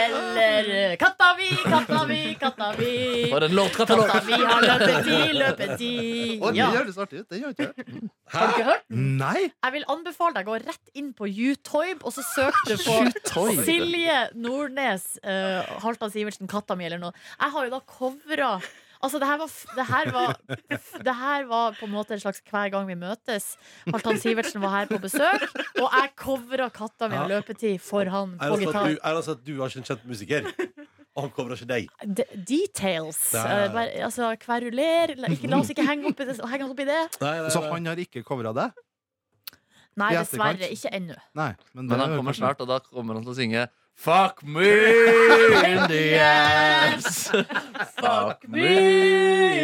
Eller eh, Katta mi, katta mi, katta mi.
For en låtkatalog!
Katta mi har løpetid, løpetid.
Å, det
Ja.
høres artig ut! Det gjør ikke jeg.
Har du ikke hørt?
Nei!
Jeg vil anbefale deg å gå rett inn på YouTube, og så søker du på Silje Nordnes, eh, Halvdan Sivertsen, katta mi, eller noe. Jeg har jo da covra Altså, det her, var, f- det, her var, det her var på en måte en slags hver gang vi møtes. Halvdan Sivertsen var her på besøk, og jeg covra katta mi har løpetid for han på
Eneste at
gitar.
altså, du- eneste at du har ikke en kjent musiker. Og han kommer ikke deg.
De details.
Ja, ja, ja.
Eh, bare- altså, kveruler. La, ikke, la oss ikke henge, opp i det, henge oss opp i det.
Nei, nei,
Så
nei.
han har ikke covra det?
Nei,
I etterkant.
dessverre. Ikke ennå.
Nei. Men,
Men
det
han
er jo
kommer
kanskje-
snart, og da kommer han til å synge Fuck me in the ass Fuck me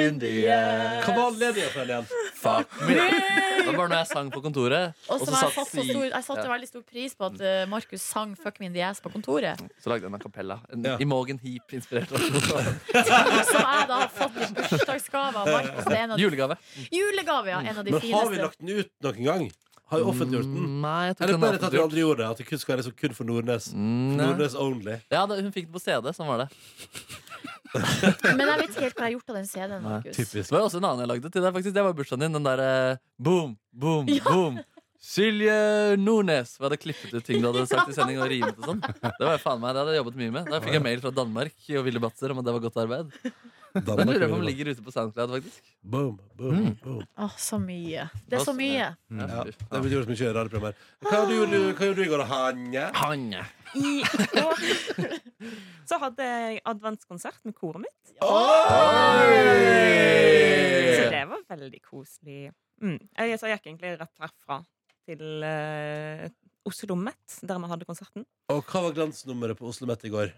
in the ass
Hva var ledighetsfellen igjen?
Fuck me Det var når jeg sang på kontoret
Og
og
som jeg
satt
satte, så
Stig-
stor, jeg satte
ja,
veldig stor pris på at eh, Markus sang 'Fuck me in the ass' på kontoret.
Så lagde jeg en acapella En
Ja.
Imogen Heap inspirert av
Som jeg da har fått i bursdagsgave av Markus. Det er en av de-
Julegave
Julegave, ja. En av de
Men har vi
fineste.
lagt den ut noen gang? Har vi offentliggjort den?
Mm, Nei, jeg tror
Eller
ikke
bare
den
at
har
vi
fått gjort
aldri gjorde det? At det kun skal være så kun for Nordnes?
Mm, nei.
Nordnes only.
ja, da, hun fikk det på CD, sånn var det
Men jeg vet ikke helt hva jeg har gjort av den CD-en.
Nei,
Markus.
Det var også en annen jeg lagde til deg faktisk Det var bursdagen din, den der eh, Boom, boom,
Ja.
boom Silje Nordnes Vi hadde klippet ut ting du hadde sagt i sending og rimet og sånn Det var faen meg, det hadde jeg jobbet mye med Da fikk jeg mail fra Danmark og Ville Batser om at det var godt arbeid Den lurer jeg på om ligger ute på SoundCloud faktisk
Boom, boom, boom.
Åh, så mye. Det er så mye.
Ja,
Mm. Ja, fy
det
faen.
blir gjort mye i radioprogrammer. Hva gjorde du, hva gjorde du i går, da, Hanje?
Han ja.
I går så hadde jeg adventskonsert med koret mitt, så
Oi!
det var veldig koselig. Mm. Jeg, så jeg gikk egentlig rett herfra til eh, Oslo Met, der vi hadde konserten.
Og hva var glansnummeret på Oslo Met i går?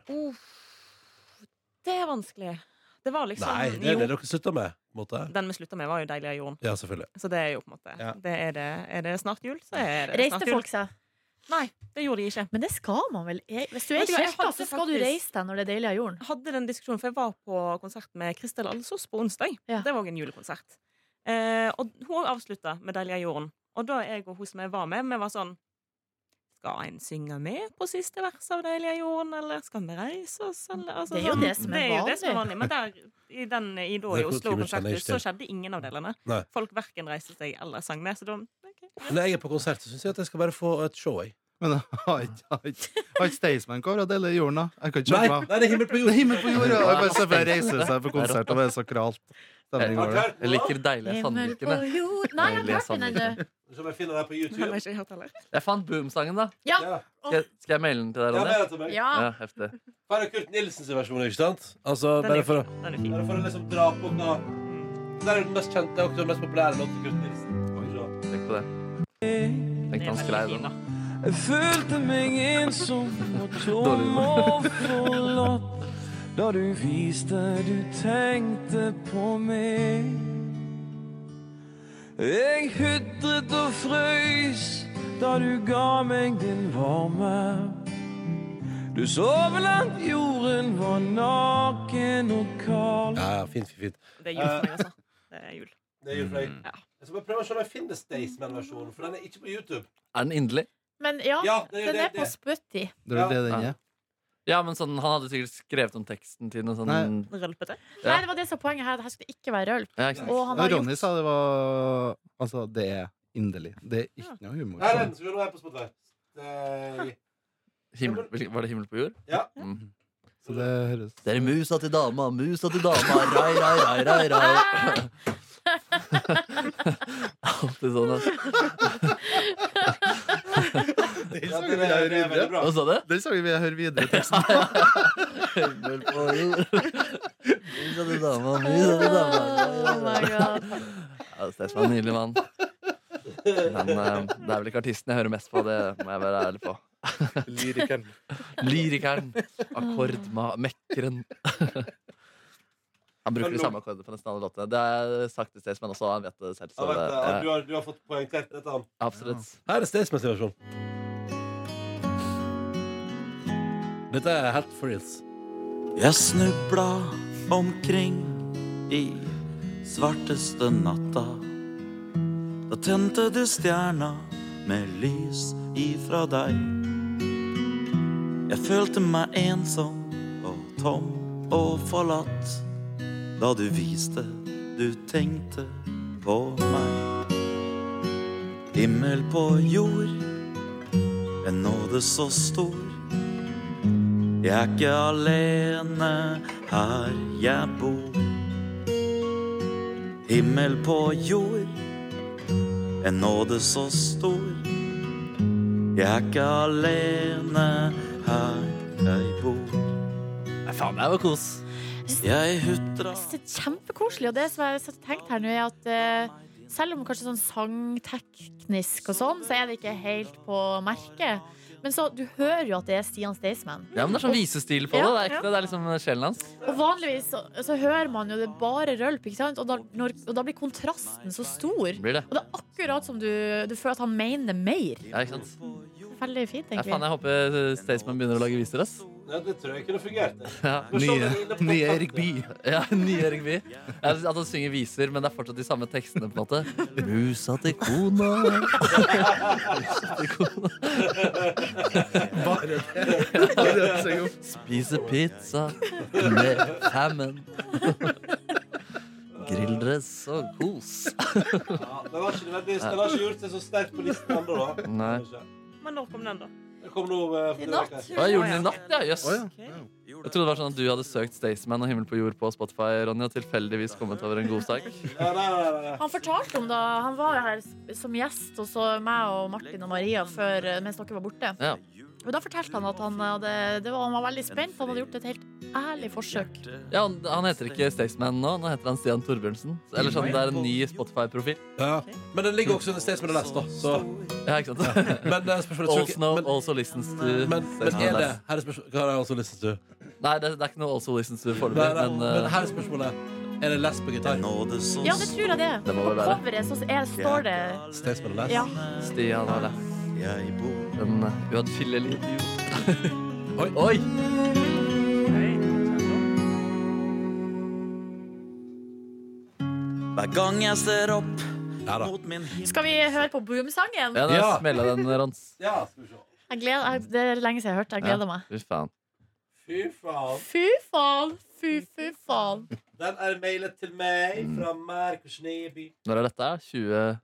Det er vanskelig. Det var liksom
Nei, det er det
jo,
dere slutta med. På en måte.
Den vi slutta med, var jo 'Deilig er jorden'.
Ja, selvfølgelig.
Så det er jo på en måte
Ja.
det er, det, er det snart jul, så er det
Reiste
snart jul.
folk seg?
Nei, det gjorde de ikke.
Men det skal man vel? e- Hvis du er
Vet du hva, jeg
kjelka,
hadde
så skal du
faktisk-
reise deg når det er deilig av jorden.
hadde den diskusjonen, for jeg var på konsert med Kristel Alsos på onsdag.
Ja.
Det var også en julekonsert. Eh, og hun avslutta med 'Deilig er jorden'. Og da jeg og hun som jeg var med, vi var sånn Skal en synge med på siste vers av 'Deilig er jorden', eller skal vi reise oss, eller altså,
Det er jo
sånn.
det som er
Det jo det som er
vanlig.
vanlig. Men der, i den i, da,
Det
i
er
Oslo
kollektivet kjenner jeg
konserten,
ikke til.
så skjedde ingen av delene.
Nei.
Folk verken reiste seg eller sang med, så da ok.
Når jeg er på konsert, så syns jeg at jeg skal bare få et show. Jeg.
Men har ikke- har ikke har ikke Staysman covra det, eller jorda? Jeg kan ikke
Nei,
skjønne meg.
nei, det er himmel på jord!
Himmel på jorda! Jeg bare ser for meg reiser seg på konsert og det er sakralt. Stemmen går det.
Jeg liker deilige
Himmel på
sandvikene.
jord Nei, jeg har ikke hørt den
Deilige
ennå.
Som jeg finner deg på
Den har
YouTube.
jeg ikke hørt heller.
Jeg fant Boom-sangen, da.
Ja.
Ja,
Skal jeg, skal jeg maile den til deg,
ja,
Ronny?
mer til meg.
Ja.
Ah.
Ja, heftig.
Bare Kurt Nilsens versjon, ikke sant? Altså,
Den
bare
er,
for å
den er fin.
Bare for å liksom dra på hva Det er jo den mest kjente og også den mest populære låten til Kurt Nilsen. Skal vi se.
Tenk på det. Tenk
Den
på
er
han
veldig
sklei
fin,
den.
da.
Jeg følte meg ensom og tom
Dårlig.
og forlatt da du viste du tenkte på meg. Jeg hudret og frøys da du ga meg din varme. Du sov langt jorden var naken og kald.
Ja, ja, fint, fint, fint.
Det er jul
Eh.
for meg, altså. Det er jul.
Det er jul for deg.
Mm. Ja.
Jeg skal bare prøve å se om jeg finner Staysman-versjonen, for den er ikke på YouTube.
Er den inderlig?
Men ja,
Ja, det er jo
den
det-
er på
det.
Sputty.
Det er jo det den er.
Ja, men sånn, Han hadde sikkert skrevet om teksten til noe sånn
Nei.
Rølpete.
Ja.
Nei, det var det som var poenget her. Det her skulle ikke være rølp.
ja, ikke sant?
Og han
Ja,
har gjort
Ronny sa det var Altså, det er inderlig. Det er ikke noe humor.
Her er den. Skal vi se, nå er jeg på Spotify. Det-
Himmel, hvilken- var det himmel på jord?
Ja.
Mm.
Så det høres
Det er musa til dama, musa til dama, rai, rai, rai, rai, rai. Alltid sånn, altså.
Ja, det, det, det er veldig bra.
Hva sa du?
Den sangen vil jeg høre videre. Takk.
Himmel på jord. Musa til dama, musa til dama.
Oh my god.
Ja, Steffen var en nydelig mann. Men eh, det er vel ikke artisten jeg hører mest på, det må jeg være ærlig på.
Lyrikeren.
Lyrikeren, akkordmekkeren. Han bruker de samme akkordene på nesten alle låtene. Det er sagt til Staysman også, og han vet det selv.
Ja,
Så
vet
det,
du, ja, du,
eh,
har, du har fått poengtert dette. han.
absolutt.
Her er Staysmans versjon. Dette er helt for reals.
Jeg snubla omkring i svarteste natta. Da tente du stjerna med lys ifra deg. Jeg følte meg ensom og tom og forlatt da du viste du tenkte på meg. Himmel på jord, en nåde så stor. Jeg er ikke alene her jeg bor. Himmel på jord, en nåde så stor. Jeg er ikke alene her jeg bor.
Nei, faen, det er jo kos.
Jeg hutra
Det er kjempekoselig. Og det som jeg har tenkt her nå, er at eh, selv om kanskje sånn sangteknisk og sånn, så er det ikke helt på merket. Men så, du hører jo at det er Stian Staysman.
Ja, men Det er sånn visestil på det. Det er, ekte, det er liksom sjelen hans.
Og vanligvis så, så hører man jo det er bare rølp, ikke sant? Og da, når, og da blir kontrasten så stor.
Blir det.
Og det er akkurat som du, du føler at han mener det mer.
Ja, ikke sant?
Veldig fint,
Ja, faen,
egentlig.
jeg håper Staysman begynner å lage viser. Ass.
Ja, det tror jeg kunne fungert. det.
Ja.
Skal vi se om
Nye-
den er inne på
nye
toppen.
Erik Bye.
Ja, Nye Erik Bye. Ja, At han synger viser, men det er fortsatt de samme tekstene. på en måte Musa til kona Musa til kona Spise pizza med fammen. Grilldress og kos.
Ja, den har ikke, nødvendigvis- den har ikke gjort seg så sterkt på listen ennå, da.
Nei.
Men når kom den, da?
Det kom nå eh, for
I
denne
natt.
veka.
Å, jeg gjorde den i natt, ja. Jøss.
Å, ja.
Jeg trodde det var sånn at du hadde søkt Staysman og Himmel på jord på Spotify, Ronny, og tilfeldigvis kommet over en god sak.
Ja, nei, nei, nei, nei.
Han fortalte om da han var her som gjest hos meg og Martin og Maria før, eh, mens dere var borte.
Ja.
Og da fortalte han at han, hadde, det var, han var veldig spent. Han hadde gjort et helt ærlig forsøk.
Ja, han, han heter ikke Staysman nå, nå heter han Stian Torbjørnsen. Eller sånn, det er en ny Spotify-profil.
Ja. Men den ligger også under Staysman og Last, da. Så.
Ja, ikke sant?
Men det er spørsmålet tror
Also,
ikke- men,
also listens to
men, men
Staysman
er det
Last.
Her er spørsmålet Hva har jeg også lyst til?
Nei, det, det er ikke noe also listens to
Nei, nei,
foreløpig,
men,
men eh,
her er spørsmålet Er det less på gitar?
nåde så
Ja, det tror jeg det.
Det må
På
vel være.
coveret så er, står det
Staysman og Last?
Ja.
Stian og Last.
jeg bor.
Den eh, uatskillelige duo.
Oi.
Oi!
Hver gang jeg ser opp
Ja da.
mot min himmel
Skal vi høre på Boom-sangen?
Ja, da
Ja.
smeller den, eh, Rons.
Ja, skal vi se.
Jeg gleder- jeg- Det er lenge siden jeg har hørt det. Jeg gleder meg.
Fy faen.
Fy faen.
Fy faen! Fy, fy faen.
Den er mailet til meg fra Markus Neby.
Når er dette?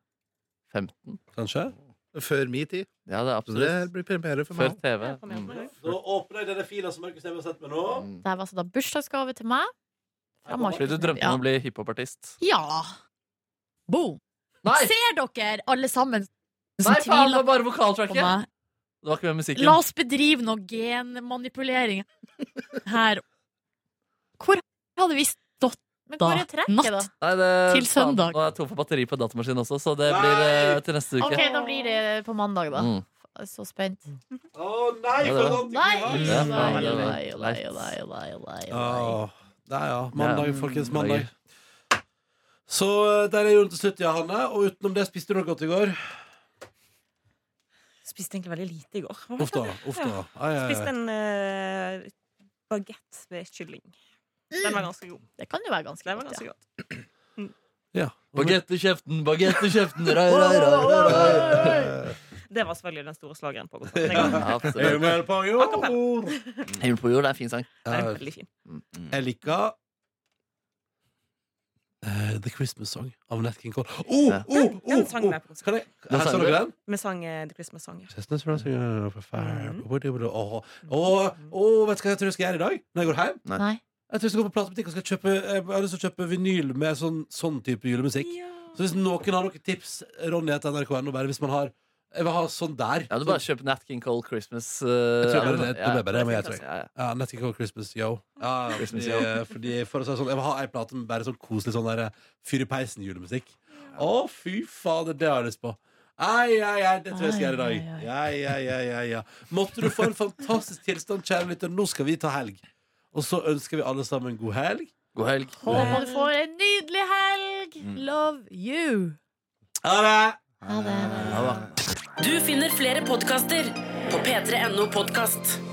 2015?
Kanskje?
Før min tid.
Ja, det er
Så det
absolutt.
blir premiere for
Før
meg.
TV.
Jeg kom hjem
Mm.
med en gang.
Da åpner jeg denne filen som Markus Neby har sendt meg nå.
Mm.
Det her var altså da bursdagsgave til meg Fra Markus.
Fordi du drømte om å bli hiphopartist.
Ja. ja. Boom.
Nei!
Ser dere, alle sammen som
Nei, faen, det
tviler
var bare
på
vokaltracket!
meg?
Det var ikke med musikken.
La oss bedrive noe genmanipulering her. Hvor hadde vi stått
Men
da
hvor er trekket, da?
natt
Nei, det,
til
faen,
søndag.
Nå er jeg tom for batteri på datamaskinen også, så det blir eh, til neste uke.
OK, da blir det på mandag, da.
Mm.
Så spent.
nei,
Ja,
for
det var-
en
Nei!
antikvar!
Ja,
Nei,
faen,
nei, nei, nei,
det var leit.
nei, nei, nei, nei.
Ja, ja, ja. Mandag,
Ja.
folkens.
Mandager.
Mandag. Så eh, der er jorden til slutt, ja, Hanne. Og utenom det spiste du noe godt i går.
Spiste egentlig veldig lite i går. Hva var
Uff da.
det?
Uff da. Ai, ai,
Spiste
ai.
en uh, bagett med kylling. Den var ganske god.
Det kan jo være ganske
Den var
Mm. godt,
ganske
ja.
godt.
Ja.
Bagett i kjeften, bagett i kjeften! Rai, rai, rai, rai, rai.
Det var selvfølgelig den store slageren på godt. Den er god.
Ja,
Er du
absolutt.
med på jord?
Himmel på jord det er en fin sang.
Den er
Ja,
veldig fin.
Jeg liker eh, The Christmas Song av Nat King Cole. Oh,
Ja.
oh, oh,
Den sang
oh.
vi på konsert.
Kan jeg
Den
Her sa
sang
dere
du?
den?
Vi sang eh, The Christmas Song. ja.
Chestnuts rising up a fire.
Mhm.
Woody, woody. Åh, åh, åh, vet du hva jeg tror jeg skal gjøre i dag? Når jeg går hjem?
Nei.
Jeg tror jeg skal gå på platebutikk og skal kjøpe Jeg har lyst til å kjøpe vinyl med sånn, sånn type julemusikk.
Ja.
Så hvis noen har noen tips, Ronny etter nrk.no, bare hvis man har Jeg vil ha sånn der.
Ja, du bare kjøper Nat King Cole Christmas. Uh,
Jeg tror bare det- det ble bare det, men jeg tror-
ja, ja.
Ja, Nat King Cole Christmas Yo. Ja,
Christmas,
fordi, eh, fordi for å si det sånn, Jeg vil ha ei plate med bare sånn koselig sånn der fyr i peisen-julemusikk. Å, fy fader, det har jeg lyst på. Ai, ai, ai, det tror jeg skal gjøre i dag.
Ai,
Ai, ai, ai, ai, ja. Måtte du få en fantastisk tilstand, kjære lytter. Nå skal vi ta helg. Og så ønsker vi alle sammen god helg.
God helg.
Håper du får en nydelig helg!
Mm.
Love you.
Ha det!
Ha det.
Ha det.
Du finner flere podkaster på p3.no podkast.